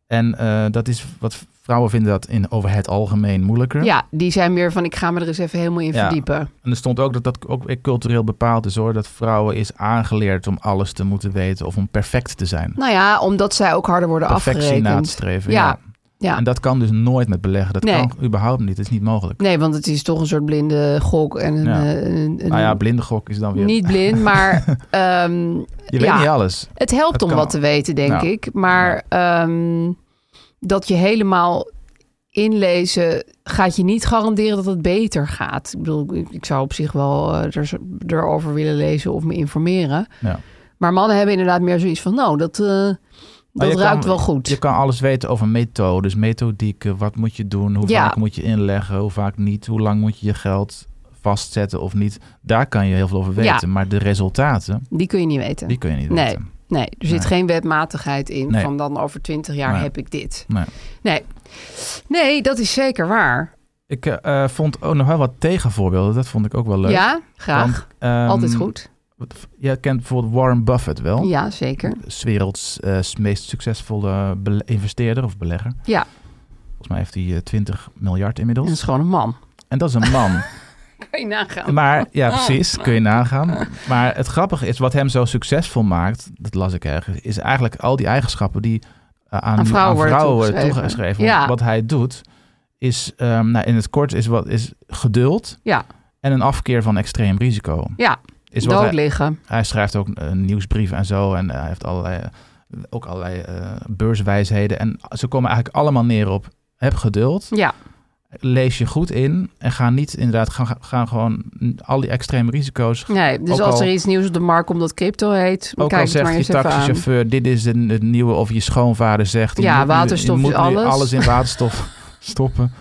En eh, dat is wat vrouwen vinden dat in over het algemeen moeilijker.
ja, die zijn meer van... ik ga me er eens even helemaal in
Ja.
verdiepen.
En er stond ook dat dat ook weer cultureel bepaald is hoor. Dat vrouwen is aangeleerd om alles te moeten weten of om perfect te zijn.
Nou ja, omdat zij ook harder worden
Perfectie na te
afgerekend.
streven.
Ja.
ja.
Ja.
En dat kan dus nooit met beleggen. Dat
Nee.
kan überhaupt niet. Dat is niet mogelijk.
Nee, want het is toch een soort blinde gok en een...
Ja.
eh, een- een-
Nou ja, blinde gok is dan weer...
Niet blind, maar ehm,
je weet
ja.
niet alles.
het helpt
Het
om
kan. Nou.
wat te weten, denk
Ja.
ik. Maar ehm, dat je helemaal inlezen gaat je niet garanderen dat het beter gaat. Ik bedoel, ik- ik zou op zich wel eh, er, erover willen lezen of me informeren.
Ja.
Maar mannen hebben inderdaad meer zoiets van, nou, dat, eh,
Maar
dat
je
ruikt
kan-
wel goed.
Je kan alles weten over methodes, methodieken. Wat moet je doen? Hoe
Ja.
vaak moet je inleggen? Hoe vaak niet? Hoe lang moet je je geld vastzetten of niet, daar kan je heel veel over
Ja.
weten. Maar de resultaten,
Die kun je niet weten.
die kun je niet
nee,
weten.
nee, er zit
Nee.
geen wetmatigheid in
Nee.
van dan over twintig jaar
Nee.
heb ik dit.
Nee.
Nee. nee, dat is zeker waar.
Ik eh, eh, vond ook nog wel wat tegenvoorbeelden. Dat vond ik ook wel leuk.
Ja, graag.
Want, ehm, oh.
Altijd goed.
wat- Jij kent bijvoorbeeld Warren Buffett wel.
Ja, zeker.
S- werelds eh, s- meest succesvolle bele- investeerder of belegger.
Ja.
Volgens mij heeft hij eh, 20 miljard
En
inmiddels.
dat is gewoon een man.
En dat is een man.
Kan je nagaan.
Maar ja,
Ah.
precies, kun je nagaan. Maar het grappige is, wat hem zo succesvol maakt, dat las ik ergens, is eigenlijk al die eigenschappen die eh, aan,
Aan vrouwen worden
worden
toegeschreven.
toegeschreven. Want
Ja.
Wat hij doet, is ehm, nou, in het kort is, wat, is geduld
Ja.
en een afkeer van extreem risico.
Ja,
Is wat
dood
hij,
liggen.
hij schrijft ook eh, nieuwsbrieven en zo en eh, hij heeft allerlei, eh, ook allerlei eh, beurswijsheden. En ze komen eigenlijk allemaal neer op, heb geduld
Ja,
lees je goed in en ga niet inderdaad, ga, ga gewoon al die extreme risico's.
nee. Dus
Ook
als
al-
er iets nieuws op de markt komt dat crypto heet,
Ook
kijk
al
het maar
zegt je
eens even aan.
taxichauffeur, dit is een, het nieuwe, of je schoonvader zegt, je
Ja,
moet nu-
waterstof
je
is
moet nu
alles.
alles in waterstof stoppen.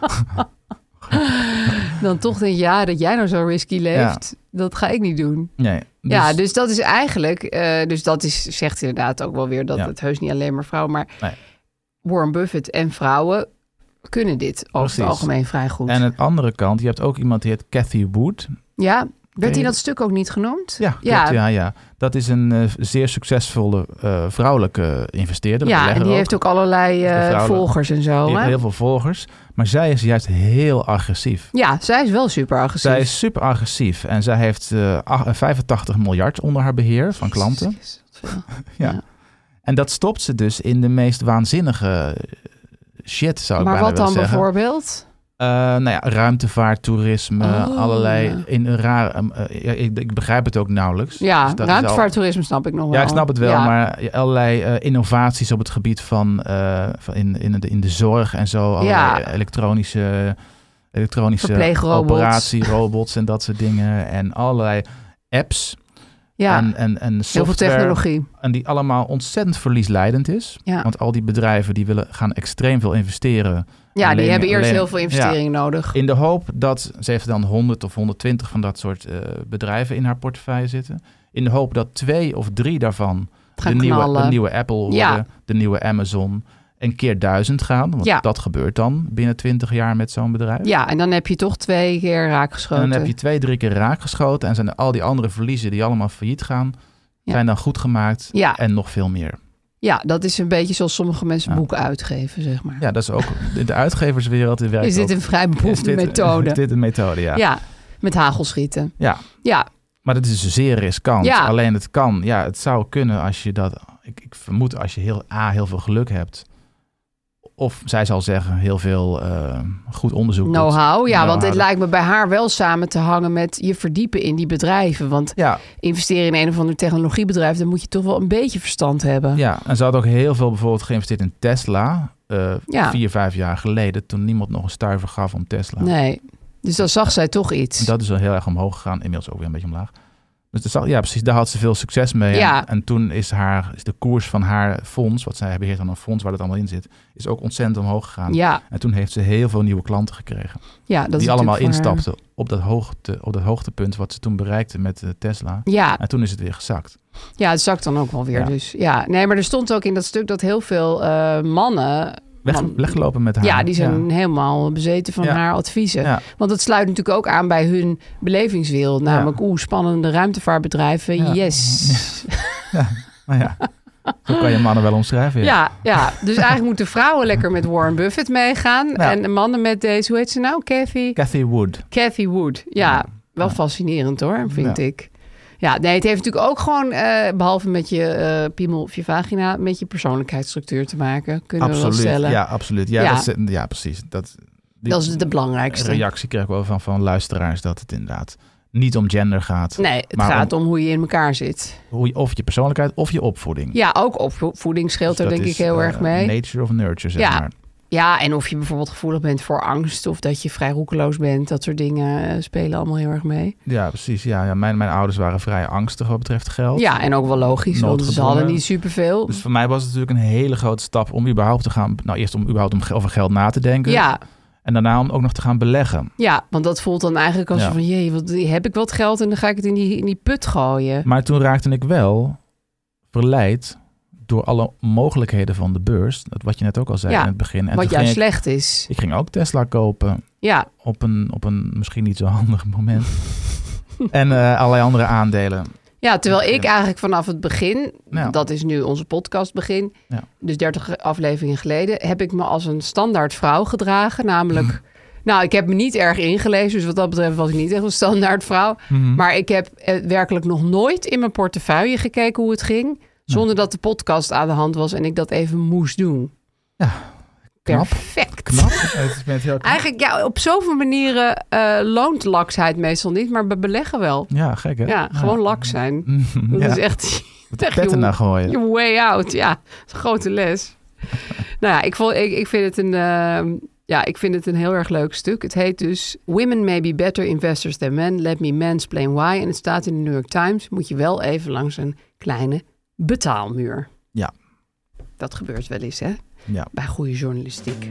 Dan toch denk je, ja, dat jij nou zo risky leeft, dat ga ik niet doen.
Nee, dus,
Ja, dus dat is eigenlijk, eh, dus dat is, zegt inderdaad ook wel weer dat
Ja.
het heus niet alleen maar vrouwen, maar
Nee.
Warren Buffett en vrouwen kunnen dit over
Precies.
het algemeen vrij goed.
En aan de andere kant, je hebt ook iemand die heet Cathy Wood.
ja,
Ken je
werd in dat
dat?
stuk ook niet genoemd?
Ja,
ja,
klopt, ja, ja. dat is een eh, zeer succesvolle eh, vrouwelijke investeerder.
Ja, en
belegger
die heeft ook allerlei
Dus de
eh,
vrouwen-
volgers en zo.
Die heeft
hè?
heel veel volgers. Maar zij is juist heel agressief.
Ja, zij is wel super agressief.
Zij is super agressief en zij heeft eh, ach- eh, 85 miljard onder haar beheer van klanten.
Jezus, wat veel.
Ja.
Ja.
En dat stopt ze dus in de meest waanzinnige eh, shit, zou ik
maar
bijna
wat dan
willen zeggen.
bijvoorbeeld?
Eh, nou ja, ruimtevaart, toerisme,
Oh.
allerlei in een raar. ehm, eh, ja, ik, ik begrijp het ook nauwelijks.
Ja,
Dus dat is al-
ruimtevaarttoerisme snap ik nog wel.
Ja, ik snap het wel,
Ja.
maar allerlei eh, innovaties op het gebied van, eh, van in, in, de, in de zorg en zo. Allerlei
Ja.
elektronische, elektronische
Verpleegrobots.
operatierobots en dat soort dingen. En allerlei apps
Ja,
en, en, en
heel veel
software.
technologie.
En die allemaal ontzettend verliesleidend is.
Ja.
Want al die bedrijven die willen gaan extreem veel investeren.
Ja, die
leningen-
hebben eerst
leningen-
heel veel investeringen nodig.
In de hoop dat, ze heeft dan 100 of 120 van dat soort eh, bedrijven in haar portefeuille zitten. In de hoop dat twee of drie daarvan de
Gaan
nieuwe,
knallen.
de nieuwe Apple worden,
Ja.
de nieuwe Amazon, een keer duizend gaan. Want
Ja.
dat gebeurt dan binnen 20 jaar met zo'n bedrijf.
Ja, eh. en dan heb je toch twee keer
en
raakgeschoten.
dan heb je twee, drie keer raakgeschoten. En zijn al die andere verliezen die allemaal failliet gaan,
Ja.
zijn dan goed gemaakt.
Ja.
En nog veel meer.
Ja, dat is een beetje zoals sommige mensen
Ja.
boeken uitgeven, zeg maar.
Ja, dat is ook in de uitgeverswereld. die werkt
is dit
ook-
een vrij
is
beproefde
dit-
methode?
Is dit een methode, ja.
ja. met hagelschieten.
Ja.
Ja,
Maar dat is dus zeer riskant.
Ja.
Alleen het kan. Ja, het zou kunnen als je dat... Ik, ik vermoed als je heel, A, heel veel geluk hebt. Of zij zal zeggen, heel veel eh, goed onderzoek. doet.
know-how. Ja, want dit
Know-how.
lijkt me bij haar wel samen te hangen met je verdiepen in die bedrijven. Want
Ja,
investeren in een of ander technologiebedrijf, dan moet je toch wel een beetje verstand hebben.
ja, en ze had ook heel veel bijvoorbeeld geïnvesteerd in Tesla. eh,
Ja.
Vier, vijf jaar geleden. Toen niemand nog een stuiver gaf om Tesla.
Nee, dus dan zag zij toch iets.
En dat is wel heel erg omhoog gegaan. Inmiddels ook weer een beetje omlaag. Dus dat zag- ja, precies, daar had ze veel succes mee. En-
Ja.
En, toen is, haar, is de koers van haar fonds, wat zij beheert aan een fonds waar dat allemaal in zit, is ook ontzettend omhoog gegaan.
Ja,
En toen heeft ze heel veel nieuwe klanten gekregen.
ja, dat is
die allemaal
natuurlijk voor haar-
instapten op dat, hoogte, op dat hoogtepunt wat ze toen bereikte met eh, Tesla.
Ja,
En toen is het weer gezakt.
ja, het zakt dan ook wel weer.
Ja.
Dus ja, nee, maar er stond ook in dat stuk dat heel veel eh, mannen.
Weg,
man-
weggelopen met haar.
Ja, die zijn helemaal bezeten van
Ja.
haar adviezen.
Ja.
Want dat sluit natuurlijk ook aan bij hun belevingswereld. Namelijk, oeh, spannende ruimtevaartbedrijven.
Ja.
Yes.
Nou ja, zo kan je mannen wel omschrijven.
Ja.
ja.
Ja, Dus eigenlijk moeten vrouwen lekker met Warren Buffett meegaan. En de mannen met deze, hoe heet ze nou? Kathy?
Cathy Wood.
Kathy Wood. Ja,
Ja.
wel
Ja.
fascinerend hoor, vind
Ja.
ik. Ja, nee, het heeft natuurlijk ook gewoon, eh, behalve met je eh, piemel of je vagina, met je persoonlijkheidsstructuur te maken. Kunnen we wel
Absoluut.
stellen.
Ja, absoluut. Ja,
Ja.
Dat is- ja precies. Dat, die
Dat is de belangrijkste.
reactie kreeg ik wel van, van luisteraars dat het inderdaad niet om gender gaat.
Nee, het
Maar
gaat om... hoe je in elkaar zit.
Hoe je, of je persoonlijkheid of je opvoeding.
Ja, ook opvoeding scheelt
Dus
er
dat
denk
is,
ik heel
eh,
erg mee.
Nature of nurture, zeg
Ja.
maar.
Ja, en of je bijvoorbeeld gevoelig bent voor angst of dat je vrij roekeloos bent, dat soort dingen eh, spelen allemaal heel erg mee.
Ja, precies. Ja, ja. Mijn, mijn ouders waren vrij angstig wat betreft geld.
Ja, en ook wel logisch, want ze
Noodgedwongen.
hadden niet superveel.
Dus voor mij was het natuurlijk een hele grote stap om überhaupt te gaan... Nou, eerst om überhaupt om, ge- over geld na te denken.
Ja,
En daarna om ook nog te gaan beleggen.
Ja, want dat voelt dan eigenlijk als
Ja.
van, jee, wat, heb ik wat geld en dan ga ik het in die, in die put gooien.
Maar toen raakte ik wel verleid door alle mogelijkheden van de beurs. Dat wat je net ook al zei
Ja,
in het begin. En
wat
toen
juist
ging ik,
slecht is.
ik ging ook Tesla kopen
Ja,
op een, op een misschien niet zo handig moment. en eh, allerlei andere aandelen.
ja terwijl ik
Ja.
eigenlijk vanaf het begin,
Ja.
dat is nu onze podcast begin,
Ja.
dus 30 afleveringen geleden, heb ik me als een standaard vrouw gedragen. Namelijk, nou, ik heb me niet erg ingelezen, dus wat dat betreft was ik niet echt een standaard vrouw.
Mhm.
Maar ik heb eh, werkelijk nog nooit in mijn portefeuille gekeken hoe het ging, zonder dat de podcast aan de hand was en ik dat even moest doen.
Ja, knap.
Perfect.
Knap. het is met heel knap.
Eigenlijk, ja, op zoveel manieren eh, loont laksheid meestal niet, maar bij beleggen wel.
Ja, gek hè?
Ja, gewoon laks zijn. Dat
Ja.
is echt,
de
echt
petten naar gooien.
je way out. Ja, dat is een grote les. nou ja, ik, vond, ik, ik, vind het een, eh, ja, ik vind het een heel erg leuk stuk. Het heet dus Women may be better investors than men. Let me mansplain why. En het staat in de New York Times. Moet je wel even langs een kleine betaalmuur.
Ja.
Dat gebeurt wel eens, hè?
Ja.
bij goede journalistiek.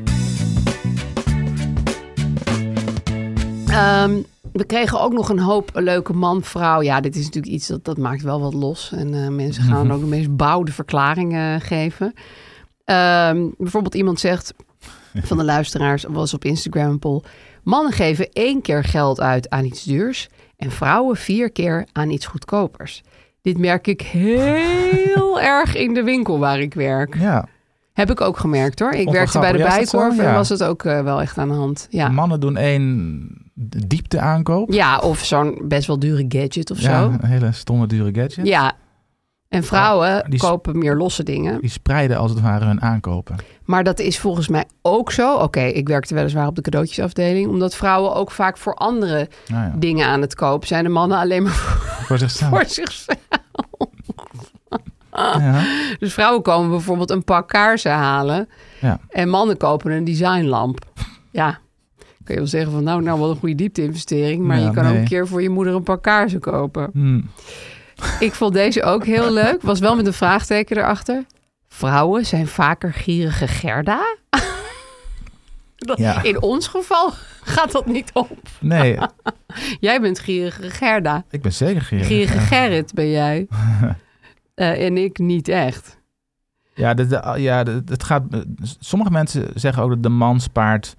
Ehm, we kregen ook nog een hoop leuke man-vrouw. Ja, dit is natuurlijk iets dat, dat maakt wel wat los. En eh, mensen gaan ook de meest bouwde verklaringen eh, geven. Ehm, bijvoorbeeld iemand zegt van de luisteraars, was op Instagram een poll. Mannen geven één keer geld uit aan iets duurs en vrouwen vier keer aan iets goedkopers. Dit merk ik heel erg in de winkel waar ik werk.
Ja,
Heb ik ook gemerkt hoor. Ik
wel
werkte bij de
grappig. Ja, is dat
Bijenkorf
zo?
en
Ja.
was het ook eh, wel echt aan de hand. Ja,
mannen doen één diepte aankoop.
ja of zo'n best wel dure gadget of
Ja,
zo.
een hele stomme, dure gadget.
Ja. En vrouwen
Oh, die s-
kopen meer losse dingen.
Die spreiden als het ware hun aankopen.
Maar dat is volgens mij ook zo. Oké, ik werkte weliswaar op de cadeautjesafdeling. Omdat vrouwen ook vaak voor andere
Nou ja,
dingen aan het kopen zijn. De mannen alleen maar voor,
voor zichzelf.
voor zichzelf.
Ja.
Dus vrouwen komen bijvoorbeeld een pak kaarsen halen.
Ja.
En mannen kopen een designlamp. Ja. Kun je wel zeggen van nou, nou wat een goede diepte-investering. Maar
Ja,
je kan ook
nee.
een keer voor je moeder een paar kaarsen kopen.
Hmm.
Ik vond deze ook heel leuk. Was wel met een vraagteken erachter. Vrouwen zijn vaker gierige Gerda. Dat-
Ja.
In ons geval gaat dat niet op.
Nee,
Jij bent gierige Gerda.
ik ben zeker gierig.
Gierige
Ja.
Gerrit ben jij. Eh, en ik niet echt.
Ja, de, de- ja de- het gaat, sommige mensen zeggen ook dat de man spaart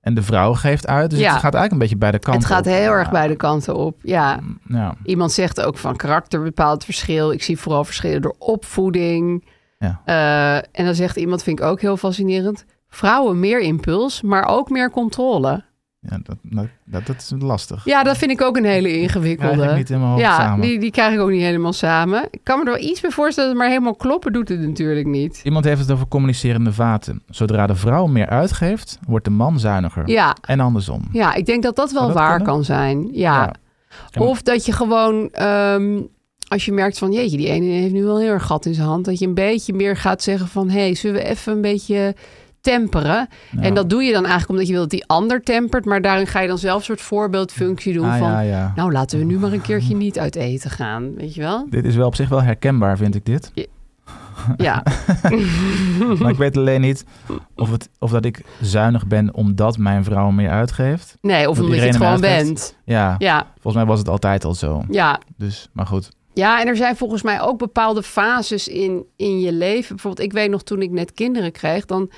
en de vrouw geeft uit. Dus
Ja.
het gaat eigenlijk een beetje bij de kant
Het gaat
op. Hmm.
heel
Ja.
erg beide kanten op. Ja.
Ja.
Iemand zegt ook van karakter bepaalt verschil. Ik zie vooral verschillen door opvoeding.
Ja.
Eh, en dan zegt iemand, vind ik ook heel fascinerend... vrouwen meer impuls, maar ook meer controle.
Ja, dat, dat, dat, dat is lastig.
Ja, dat vind ik ook een hele ingewikkelde.
Krijg ik niet in mijn hoofd
ja,
samen.
Die, die krijg ik ook niet helemaal samen. Ik kan me er wel iets bij voorstellen, maar helemaal kloppen doet het natuurlijk niet.
Iemand heeft het over communicerende vaten. Zodra de vrouw meer uitgeeft, wordt de man zuiniger.
Ja,
En andersom.
ja ik denk dat dat wel
Zou dat
waar
kunnen?
kan zijn. Ja.
En-
Of dat je gewoon, ehm, als je merkt van jeetje, die ene heeft nu wel heel erg gat in zijn hand. Dat je een beetje meer gaat zeggen van hé, hey, zullen we even een beetje temperen? En dat doe je dan eigenlijk omdat je wil dat die ander tempert. Maar daarin ga je dan zelf een soort voorbeeldfunctie doen
Ah,
van...
ja, ja.
Nou, laten we nu maar een keertje niet uit eten gaan, weet je wel?
Dit is wel op zich wel herkenbaar, vind ik dit.
Ja,
Maar ik weet alleen niet of, het, of dat ik zuinig ben omdat mijn vrouw meer uitgeeft.
nee, of
Dat
omdat je het
iedereen hem
gewoon
uitgeeft.
bent.
Ja,
Ja,
volgens mij was het altijd al zo.
ja,
Dus, maar goed.
Ja, en er zijn volgens mij ook bepaalde fases in, in je leven. Bijvoorbeeld, ik weet nog toen ik net kinderen kreeg, dan,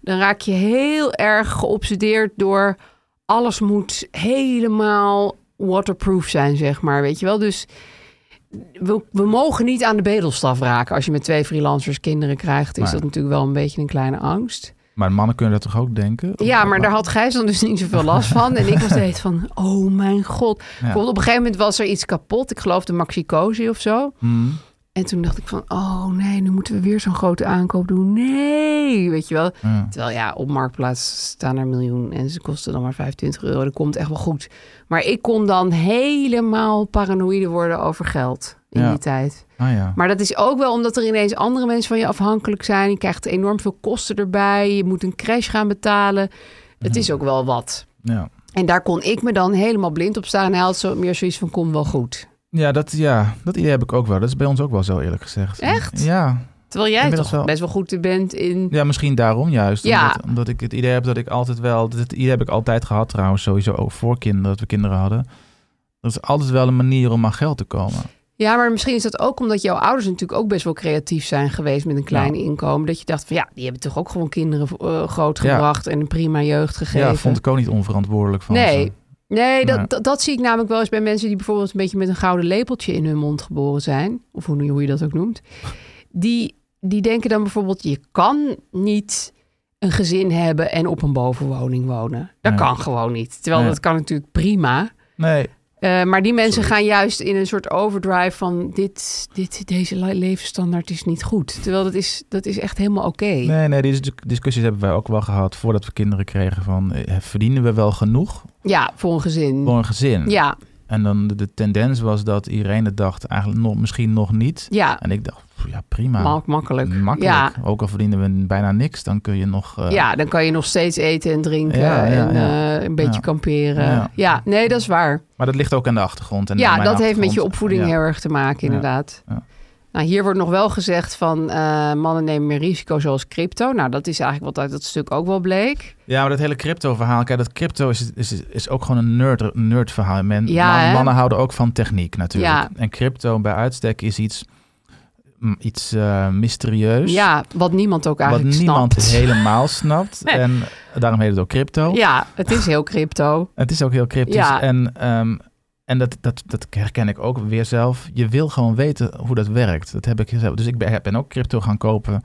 dan raak je heel erg geobsedeerd door alles moet helemaal waterproof zijn, zeg maar. Weet je wel? Dus we, we mogen niet aan de bedelstaf raken. Als je met twee freelancers kinderen krijgt, is
Maar-
dat natuurlijk wel een beetje een kleine angst.
Maar mannen kunnen dat toch ook denken?
Ja, maar daar had Gijs dan dus niet zoveel last van. En ik was steeds van, oh mijn god. Bijvoorbeeld op een gegeven moment was er iets kapot. Ik geloof de Maxi Cosi of zo.
Hmm.
En toen dacht ik van, oh nee, nu moeten we weer zo'n grote aankoop doen. Nee, weet je wel.
Ja.
Terwijl ja, op Marktplaats staan er een miljoen en ze kosten dan maar 25 euro. Dat komt echt wel goed. Maar ik kon dan helemaal paranoïde worden over geld in
Ja.
die tijd.
Ah ja.
Maar dat is ook wel omdat er ineens andere mensen van je afhankelijk zijn. Je krijgt enorm veel kosten erbij. Je moet een crash gaan betalen. Het
Mhm.
is ook wel wat.
ja.
En daar kon ik me dan helemaal blind op staan. En hij had zo, meer zoiets van, kom wel goed.
Ja dat, ja, dat idee heb ik ook wel. Dat is bij ons ook wel zo, eerlijk gezegd.
Echt?
Ja.
Terwijl jij
Inmiddels
toch
wel.
best wel goed bent in...
Ja, misschien daarom juist.
Ja.
Omdat, omdat ik het idee heb dat ik altijd wel... Dat idee heb ik altijd gehad trouwens, sowieso ook voor kinderen, dat we kinderen hadden. Dat is altijd wel een manier om aan geld te komen.
Ja, maar misschien is dat ook omdat jouw ouders natuurlijk ook best wel creatief zijn geweest met een klein
Ja.
inkomen. Dat je dacht van ja, die hebben toch ook gewoon kinderen eh, grootgebracht en een prima jeugd gegeven.
Ja, vond ik ook niet onverantwoordelijk van
Nee.
ze.
Nee, dat,
Nee.
dat, dat zie ik namelijk wel eens bij mensen die bijvoorbeeld een beetje met een gouden lepeltje in hun mond geboren zijn. Of hoe, hoe je dat ook noemt. Die, die denken dan bijvoorbeeld, je kan niet een gezin hebben en op een bovenwoning wonen. Dat
Nee.
kan gewoon niet. Terwijl
Nee.
dat kan natuurlijk prima.
Nee,
Eh, maar die mensen gaan juist in een soort overdrive van dit, dit, deze le- levensstandaard is niet goed. Terwijl dat is, dat is echt helemaal oké.
nee, nee, deze discussies hebben wij ook wel gehad voordat we kinderen kregen. Van, eh, verdienen we wel genoeg
Ja, voor een gezin.
voor een gezin?
Ja,
En dan de, de tendens was dat iedereen het dacht, eigenlijk nog, misschien nog niet.
ja.
En ik dacht, pff, ja prima.
Mak- makkelijk.
Makkelijk.
Ja.
Ook al verdienen we bijna niks, dan kun je nog... eh,
ja, dan kan je nog steeds eten en drinken
Ja, ja,
en
ja.
eh, een beetje
Ja.
kamperen.
Ja.
Ja. nee, dat is waar.
Maar dat ligt ook aan de achtergrond. En aan
ja,
mijn
dat heeft met je
achtergrond.
opvoeding
Ja.
heel erg te maken, inderdaad.
Ja.
Nou, hier wordt nog wel gezegd van eh, mannen nemen meer risico zoals crypto. Nou, dat is eigenlijk wat uit dat stuk ook wel bleek.
Ja, maar dat hele crypto-verhaal. Kijk, dat crypto is, is, is ook gewoon een nerd, nerd-verhaal. Men,
Ja,
man-
hè?
mannen houden ook van techniek natuurlijk.
Ja.
En crypto bij uitstek is iets, mm, iets eh, mysterieus.
Ja, wat niemand ook
wat
eigenlijk
niemand
snapt.
helemaal snapt. En daarom heet het ook crypto.
Ja, het is heel crypto.
Het is ook heel cryptisch.
Ja.
En, ehm, en dat, dat, dat herken ik ook weer zelf. Je wil gewoon weten hoe dat werkt. Dat heb ik zelf. Dus ik ben, ben ook crypto gaan kopen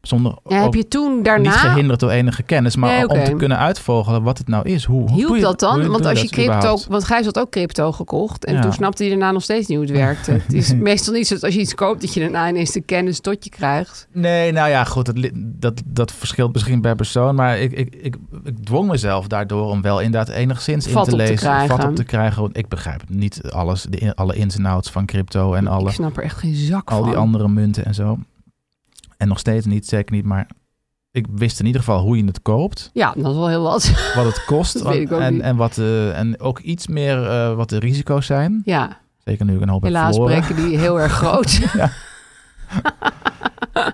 zonder...
Ja,
ook-
heb je toen
Niet
daarna...
gehinderd door enige kennis, maar
Nee,
om
oké.
te kunnen uitvogelen wat het nou is. Hoe, hoe doe
Hielp
je-
dat
hoe
dan?
doe
Want als je
dat
crypto...
überhaupt?
Want Gijs had ook crypto gekocht. En
Ja.
toen snapte hij daarna nog steeds niet hoe het werkte. Het is meestal niet zo dat als je iets koopt... dat je daarna ineens de kennis tot je krijgt.
Nee, nou ja, goed, dat, li- dat, dat verschilt misschien per persoon. Maar ik, ik, ik, ik dwong mezelf daardoor om wel inderdaad enigszins
Vat
in te
op te
lezen. vat
krijgen.
op te krijgen. Want ik begrijp niet alles, de, in- alle ins en outs van crypto en alle,
Ik snap er echt geen zak
al
van.
die andere munten en zo. En nog steeds niet, zeker niet. Maar ik wist in ieder geval hoe je het koopt,
Ja, dat is wel heel wat.
wat het kost
Dat weet ik ook
en,
niet.
en, wat, eh, en ook iets meer eh, wat de risico's zijn.
Ja,
Zeker nu ik een hoop heb
helaas
verloren.
breken die heel erg groot.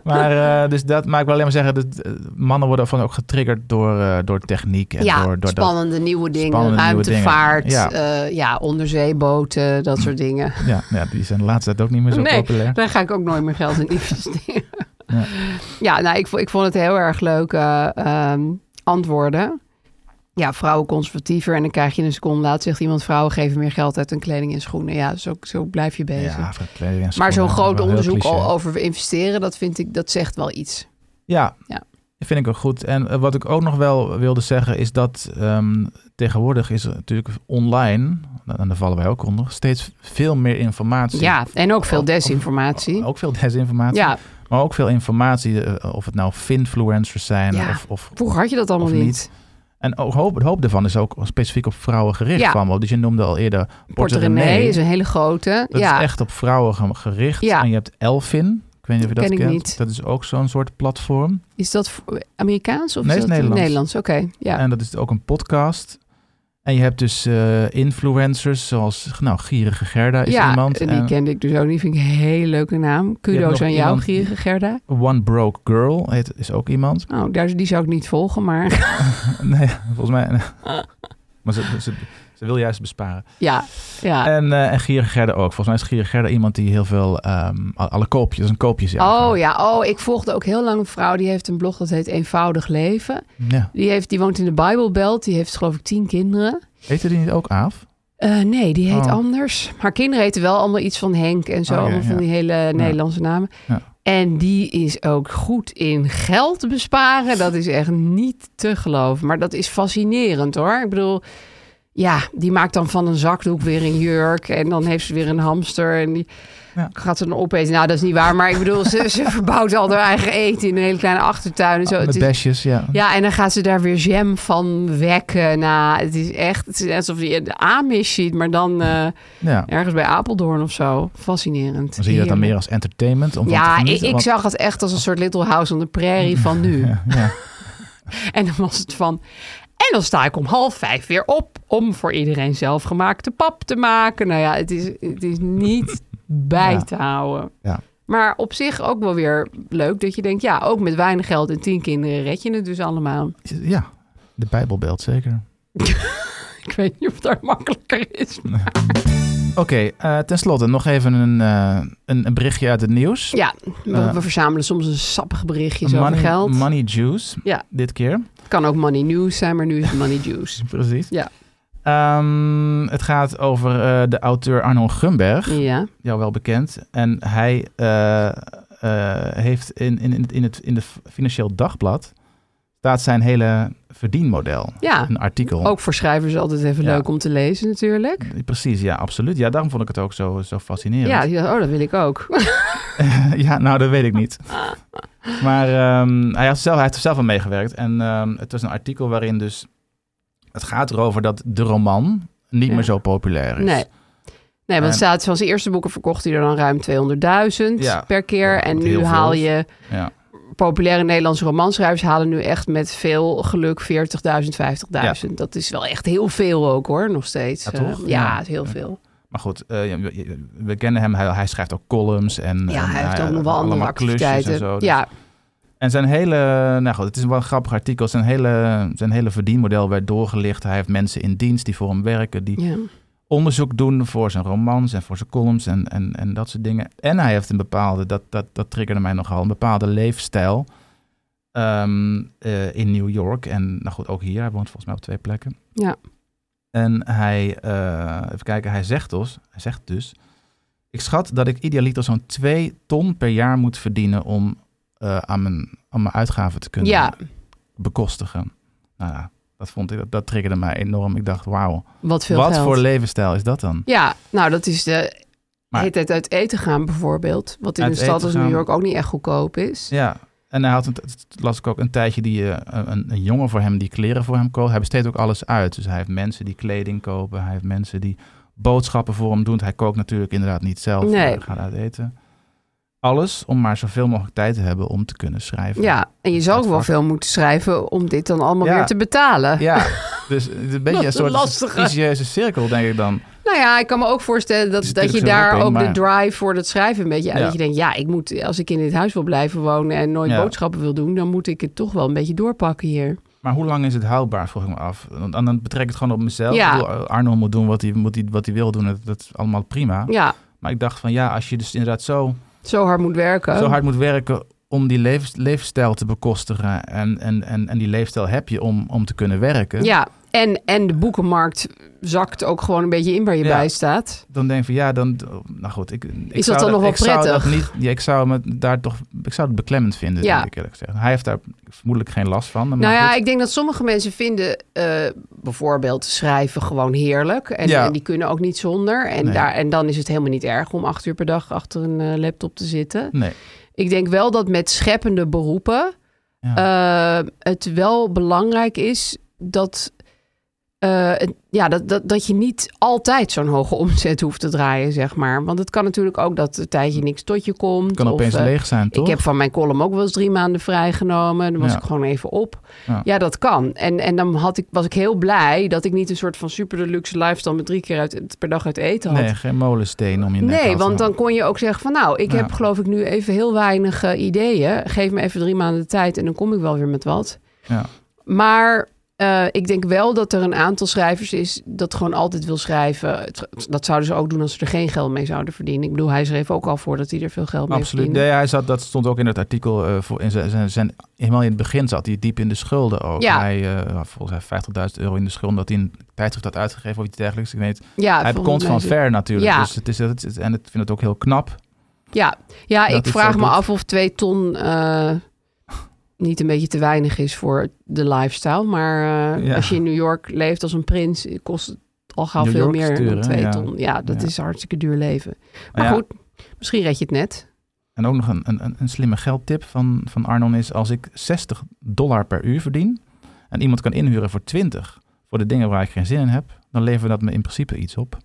Maar, eh, dus dat, maar ik wil alleen maar zeggen, dat, eh, mannen worden van ook getriggerd door, eh, door techniek en
ja,
door, door
spannende nieuwe dingen.
Spannende nieuwe dingen.
ruimtevaart.
Ja.
eh, ja, onderzeeboten. Dat soort dingen.
dat. Ja, ja, die zijn de laatste tijd ook niet meer zo
nee,
populair.
daar ga ik ook nooit meer geld in investeren.
Ja.
ja. nou, ik, vo- ik vond het heel erg leuk eh, ehm, antwoorden. Ja, vrouwen conservatiever. En dan krijg je een seconde later zegt iemand... vrouwen geven meer geld uit hun kleding en schoenen. Ja, zo, zo blijf je bezig.
Ja, voor kleding en
maar zo'n
schoenen,
groot
wel heel
onderzoek
cliché.
al over investeren... dat vind ik, dat zegt wel iets.
Ja,
Ja.
dat vind ik ook goed. En eh, wat ik ook nog wel wilde zeggen is dat ehm, tegenwoordig is er natuurlijk online, en daar vallen wij ook onder, steeds veel meer informatie.
Ja, en ook veel
Ook-
desinformatie.
Ook veel desinformatie.
Ja,
Maar ook veel informatie, eh, of het nou finfluencers zijn
Ja.
of, of
vroeger had je dat allemaal
Of
niet.
niet. En ook hoop, hoop daarvan is ook specifiek op vrouwen gericht.
Ja.
Van wel. Dus je noemde al eerder Porte
Porte
René.
René is een hele grote.
Dat
ja,
is echt op vrouwen ge- gericht.
Ja.
En je hebt Elfin. Ik weet niet of je dat
Ken ik
kent.
niet.
Dat is ook zo'n soort platform.
is dat v- Amerikaans of
Nee,
is
is
dat
Nederlands.
Oké, ja.
En dat is ook een podcast. En je hebt dus eh, influencers zoals nou, Gierige Gerda is
ja,
iemand.
die
En
kende ik dus ook niet. Vind ik een hele leuke naam.
hebt nog
Kudos aan jou,
iemand-
Gierige Gerda.
One Broke Girl heet, is ook iemand.
Nou, daar, die zou ik niet volgen, maar
nee, volgens mij... maar ze, ze, ze wil juist besparen.
ja. ja.
En, eh en Gierige Gerda ook. Volgens mij is Gierige Gerda iemand die heel veel... ehm, alle koopjes, dat is een koopjesjager.
oh ja, oh, ik volgde ook heel lang een vrouw. Die heeft een blog dat heet Eenvoudig Leven.
Ja.
Die, heeft, die woont in de Bijbelbelt. Die heeft geloof ik tien kinderen.
Heette die niet ook Aaf?
Eh, nee, die heet
Oh.
anders. Haar kinderen heten wel allemaal iets van Henk en zo.
Oh, ja,
allemaal van
ja.
die hele Nederlandse namen.
Ja.
En die is ook goed in geld besparen. Dat is echt niet te geloven. Maar dat is fascinerend hoor. Ik bedoel, ja, die maakt dan van een zakdoek weer een jurk. En dan heeft ze weer een hamster. En die
Ja.
gaat ze dan opeten. Nou, dat is niet waar. Maar ik bedoel, ze, ze verbouwt al haar eigen eten in een hele kleine achtertuin. En zo. Het
Ah, Met
is-
besjes, ja.
ja, en dan gaan ze daar weer jam van wekken. Nou, het is echt het is alsof je de Amish ziet, maar dan eh,
ja.
ergens bij Apeldoorn of zo. Fascinerend.
Dan zie je dat dan meer
Heerlijk.
als entertainment. Om van te
Ja, ik,
genieten,
ik
want-
zag het echt als een soort Little House on the Prairie van nu.
Ja, ja.
En dan was het van... En dan sta ik om half vijf weer op om voor iedereen zelfgemaakte pap te maken. Nou ja, het is, het is niet bij
Ja.
te houden.
Ja.
Maar op zich ook wel weer leuk dat je denkt, ja, ook met weinig geld en tien kinderen red je het dus allemaal.
Ja, de Bijbelbeeld zeker.
Ik weet niet of dat makkelijker is.
Oké, eh, tenslotte nog even een, eh, een, een berichtje uit het nieuws.
Ja, we,
Eh.
we verzamelen soms een sappig berichtje over
money,
geld.
Money Juice,
Ja.
dit keer.
Het kan ook money news zijn, maar nu is het money juice.
Precies.
Ja.
Ehm, het gaat over eh, de auteur Arnold Gumberg,
Ja,
jou wel bekend. En hij eh, eh, heeft in, in, in, het- in, het, in het Financieel Dagblad staat zijn hele verdienmodel.
ja. Oh,
Een artikel.
ook voor schrijvers altijd even
Nou, Ja.
leuk om te lezen natuurlijk.
Eh, Precies, ja, absoluut. Ja, daarom vond ik het ook zo, zo fascinerend.
Ja, ja, oh, dat wil ik ook.
ja, nou, dat weet ik niet. Maar ehm, hij, had zelf, hij heeft er zelf aan meegewerkt. En ehm, het was een artikel waarin dus... Het gaat erover dat de roman niet
Ja.
meer zo populair is.
Nee. Nee, want
En-
staat, van zijn eerste boeken verkocht hij er dan ruim 200.000
Ja.
per keer.
Ja,
en
wat
nu
heel
haal
veel is.
je...
Ja.
Populaire Nederlandse romanschrijvers halen nu echt met veel geluk 40.000, 50.000. Dat is wel echt heel veel ook hoor, nog steeds.
Ja,
Eh,
toch?
ja,
Ja.
heel veel.
Maar goed, eh, ja, we- we kennen hem. Hij, hij schrijft ook columns en
Ja,
en eh,
hij heeft ook nog wel
allemaal
andere
klusjes
activiteiten.
En, zo. Dus-
ja,
en zijn hele... Nou goed, het is wel een grappig artikel. Zijn hele, zijn hele verdienmodel werd doorgelicht. Hij heeft mensen in dienst die voor hem werken. Die
ja.
onderzoek doen voor zijn romans en voor zijn columns en, en, en dat soort dingen. En hij heeft een bepaalde, dat, dat, dat triggerde mij nogal, een bepaalde leefstijl ehm, eh, in New York. En nou goed, ook hier, hij woont volgens mij op twee plekken.
Ja.
En hij, eh, even kijken, hij zegt dus, hij zegt dus, ik schat dat ik idealiter zo'n 2 ton per jaar moet verdienen om eh, aan, mijn, aan mijn uitgaven te kunnen
Ja.
bekostigen. Nou ja, dat vond ik, dat, dat triggerde mij enorm. Ik dacht, wauw,
wat veel
wat
geld.
voor levensstijl is dat dan?
ja, nou dat is de
Maar-
heet het uit eten gaan bijvoorbeeld. Wat in
Uit
een stad
eten
als New
gaan.
York ook niet echt goedkoop is.
Ja, en hij had, een, dat las ik ook, een tijdje die, eh, een, een jongen voor hem die kleren voor hem koopt. Hij besteedt ook alles uit. Dus hij heeft mensen die kleding kopen. Hij heeft mensen die boodschappen voor hem doen. Hij kookt natuurlijk inderdaad niet zelf.
Nee.
Hij gaat uit eten. Alles om maar zoveel mogelijk tijd te hebben om te kunnen schrijven.
Ja, en je zou ook
Het
wel
vak.
veel moeten schrijven om dit dan allemaal
Ja.
weer te betalen.
Ja, dus het is een beetje
Wat
een
een
soort
lastige.
vicieuze cirkel, denk ik dan.
Nou ja, ik kan me ook voorstellen dat,
Het is
dat je
natuurlijk
daar
geen
ook
oplossing,
de drive voor dat schrijven een beetje uit.
Ja.
Dat je denkt, ja, ik moet, als ik in dit huis wil blijven wonen en nooit
Ja.
boodschappen wil doen, dan moet ik het toch wel een beetje doorpakken hier.
Maar hoe lang is het houdbaar, vroeg ik me af. Want dan dan betrek ik het gewoon op mezelf.
Ja.
Ik bedoel, Arnold moet doen wat hij, moet hij, wat hij wil doen. Dat, dat is allemaal prima.
Ja,
Maar ik dacht van ja, als je dus inderdaad zo
zo hard moet werken.
zo hard moet werken om die levens- leefstijl te bekostigen. En, en, en, en die leefstijl heb je om, om te kunnen werken.
Ja, en, en de boekenmarkt zakt ook gewoon een beetje in waar je
Ja.
bij staat.
Dan denk je van ja, dan. Nou goed, ik. ik
Is dat
zou
dan nog wel
ik zou dat
prettig?
niet, ja, ik zou me daar toch. Ik zou het beklemmend vinden,
Ja.
denk ik eerlijk gezegd. Hij heeft daar vermoedelijk geen last van. Maar
Nou ja,
goed.
ik denk dat sommige mensen vinden eh, bijvoorbeeld schrijven gewoon heerlijk. En,
Ja.
en die kunnen ook niet zonder. En,
Nee.
daar, en dan is het helemaal niet erg om acht uur per dag achter een eh, laptop te zitten.
Nee.
Ik denk wel dat met scheppende beroepen
Ja.
eh, het wel belangrijk is dat, eh, het- ja, dat, dat, dat je niet altijd zo'n hoge omzet hoeft te draaien, zeg maar. Want het kan natuurlijk ook dat een tijdje niks tot je komt.
kan
of,
opeens
eh,
leeg zijn, toch?
ik heb van mijn column ook wel eens drie maanden vrijgenomen. Dan was
Ja.
ik gewoon even op.
Ja.
Ja, dat kan. En, en dan had ik, was ik heel blij dat ik niet een soort van super deluxe lifestyle met drie keer uit, per dag uit eten had.
Nee, geen molensteen om je nek af
Nee,
te
want dan
hangen.
kon je ook zeggen van nou, ik
Ja.
heb geloof ik nu even heel weinig eh, ideeën. Geef me even drie maanden de tijd en dan kom ik wel weer met wat.
Ja.
Maar eh, ik denk wel dat er een aantal schrijvers is dat gewoon altijd wil schrijven. Het- Dat zouden ze ook doen als ze er geen geld mee zouden verdienen. Ik bedoel, hij schreef ook al voor dat hij er veel geld mee
Absoluut.
verdiende.
Nee, hij zat, dat stond ook in het artikel. eh, voor, in zijn, zijn, zijn- helemaal in het begin zat hij diep in de schulden ook.
Ja.
Hij, eh, volgens mij 50.000 euro in de schulden dat hij een tijdschrift had uitgegeven of iets dergelijks. Ik weet, het.
Ja,
hij
volgens
komt
mij
van
zo-
ver natuurlijk.
Ja.
Dus het is, het is- en ik vind het ook heel knap.
Ja, ja
Dat
ik
het
vraag
zo
me
doet.
af of twee ton eh, niet een beetje te weinig is voor de lifestyle. Maar eh,
Ja.
als je in New York leeft als een prins, kost het al gauw
New
veel
York
meer
is duur,
dan
hè?
twee
Ja.
ton. Ja, dat
Ja.
is een hartstikke duur leven. Maar
Nou ja,
goed, misschien red je het net.
En ook nog een, een, een- een slimme geldtip van, van Arnon is... als ik 60 dollar per uur verdien en iemand kan inhuren voor 20... voor de dingen waar ik geen zin in heb... dan levert dat me in principe iets op.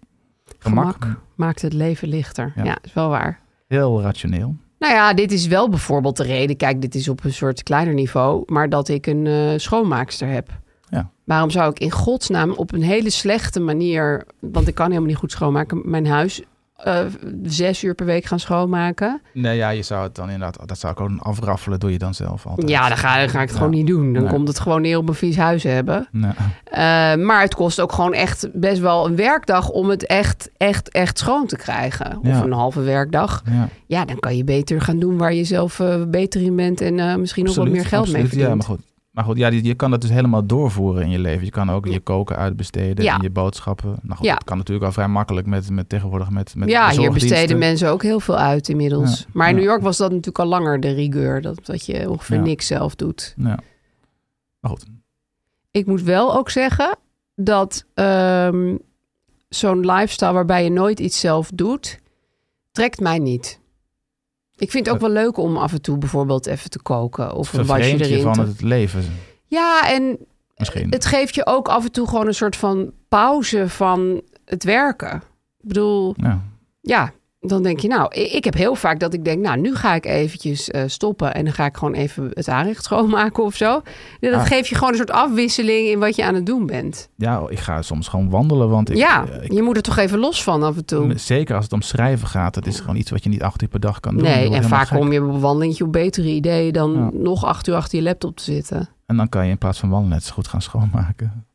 Gemak.
Gemak maakt het leven lichter.
Ja.
Ja, is wel waar.
Heel rationeel.
Nou ja, dit is wel bijvoorbeeld de reden. Kijk, dit is op een soort kleiner niveau, maar dat ik een eh, schoonmaakster heb.
Ja.
Waarom zou ik in godsnaam op een hele slechte manier, want ik kan helemaal niet goed schoonmaken, mijn huis eh, zes uur per week gaan schoonmaken.
Nee, ja, je zou het dan inderdaad, dat zou ik ook afraffelen, doe je dan zelf altijd.
Ja, dan ga, dan ga ik het
Ja.
gewoon niet doen. Dan
Nee.
komt het gewoon neer op een vies huis hebben.
Nee.
Eh, maar het kost ook gewoon echt best wel een werkdag om het echt, echt, echt schoon te krijgen. Of
Ja.
een halve werkdag.
Ja.
Ja, dan kan je beter gaan doen waar je zelf eh, beter in bent en eh, misschien nog wat meer geld mee
absoluut,
verdient.
Ja, maar goed. Maar goed, ja, die- je kan dat dus helemaal doorvoeren in je leven. Je kan ook je koken uitbesteden
Ja.
en je boodschappen. Nou goed,
Ja.
dat kan natuurlijk al vrij makkelijk met, met tegenwoordig met, met
ja, hier
bezorgdiensten.
besteden mensen ook heel veel uit inmiddels.
Ja,
Maar in
ja.
New York was dat natuurlijk al langer de rigueur. Dat, dat je ongeveer
Ja.
niks zelf doet.
Ja. Maar goed,
Ik moet wel ook zeggen dat ehm, zo'n lifestyle waarbij je nooit iets zelf doet, trekt mij niet. Ik vind het ook wel leuk om af en toe bijvoorbeeld even te koken of een wasje
Eh. vervreemd
erin.
je van
te-
het leven
Ja, en
misschien.
het geeft je ook af en toe gewoon een soort van pauze van het werken. Ik bedoel,
ja.
ja, dan denk je nou, i- ik heb heel vaak dat ik denk, nou, nu ga ik eventjes eh, stoppen en dan ga ik gewoon even het aanrecht schoonmaken of zo. Dat
Ah.
geeft je gewoon een soort afwisseling in wat je aan het doen bent.
ja, ik ga soms gewoon wandelen, want ik,
ja,
eh,
je moet er toch even los van af en toe.
ik- zeker als het om schrijven gaat, dat is gewoon iets wat je niet acht uur per dag kan doen. Je
nee,
wordt
en
helemaal
vaak
gek.
kom je op een wandelingetje op betere ideeën dan
Ja.
nog acht uur achter je laptop te zitten.
En dan kan je in plaats van wandelen net zo goed gaan schoonmaken.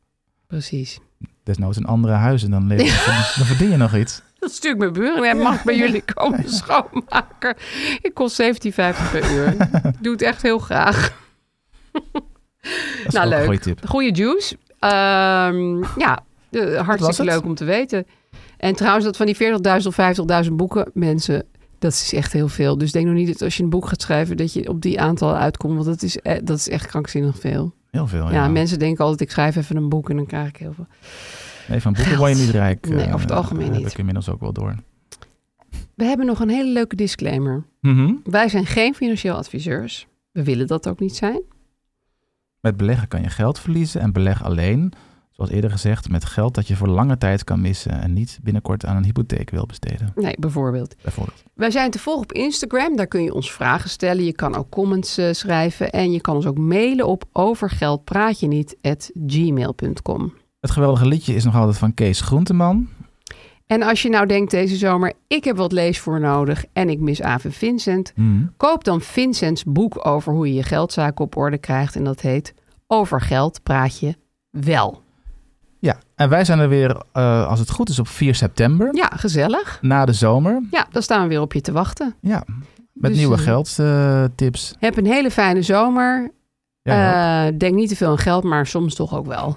Precies.
Desnoods in andere huizen, dan, leef je- dan verdien je nog iets.
Dat is natuurlijk mijn buren. Hij mag bij jullie komen schoonmaken. Ik kost 17,50 per uur. Ik doe het echt heel graag.
Dat is
Nou,
ook
leuk.
een goede tip.
Goeie juice. Ehm, ja, eh,
was
hartstikke
het.
leuk om te weten. En trouwens, dat van die 40.000 of 50.000 boeken, mensen, dat is echt heel veel. Dus denk nog niet dat als je een boek gaat schrijven, dat je op die aantallen uitkomt. Want dat is, eh, dat is echt krankzinnig veel.
Heel veel, Oh ja.
ja. mensen denken altijd, ik schrijf even een boek en dan krijg ik heel veel.
Nee, van boeken
Geld.
word je niet rijk.
Nee,
eh,
over het algemeen
Heb
niet.
ik inmiddels ook wel door.
We hebben nog een hele leuke disclaimer. Wij zijn geen financieel adviseurs. We willen dat ook niet zijn.
Met beleggen kan je geld verliezen en beleg alleen, zoals eerder gezegd, met geld dat je voor lange tijd kan missen en niet binnenkort aan een hypotheek wil besteden,
Nee, bijvoorbeeld.
bijvoorbeeld.
Wij zijn te volgen op Instagram. Daar kun je ons vragen stellen. Je kan ook comments eh, schrijven. En je kan ons ook mailen op overgeldpraatjeniet.gmail.com.
Het geweldige liedje is nog altijd van Kees Groenteman.
En als je nou denkt deze zomer, ik heb wat leesvoer nodig en ik mis Aave Vincent.
Hmm.
Koop dan Vincents boek over hoe je je geldzaken op orde krijgt. En dat heet Over geld praat je wel.
Ja, en wij zijn er weer, eh, als het goed is, op 4 september,
Ja, gezellig.
na de zomer.
Ja, dan staan we weer op je te wachten.
Ja, met
Dus,
nieuwe
eh,
geldtips.
Heb een hele fijne zomer.
ja,
Eh, denk niet te veel aan geld, maar soms toch ook wel.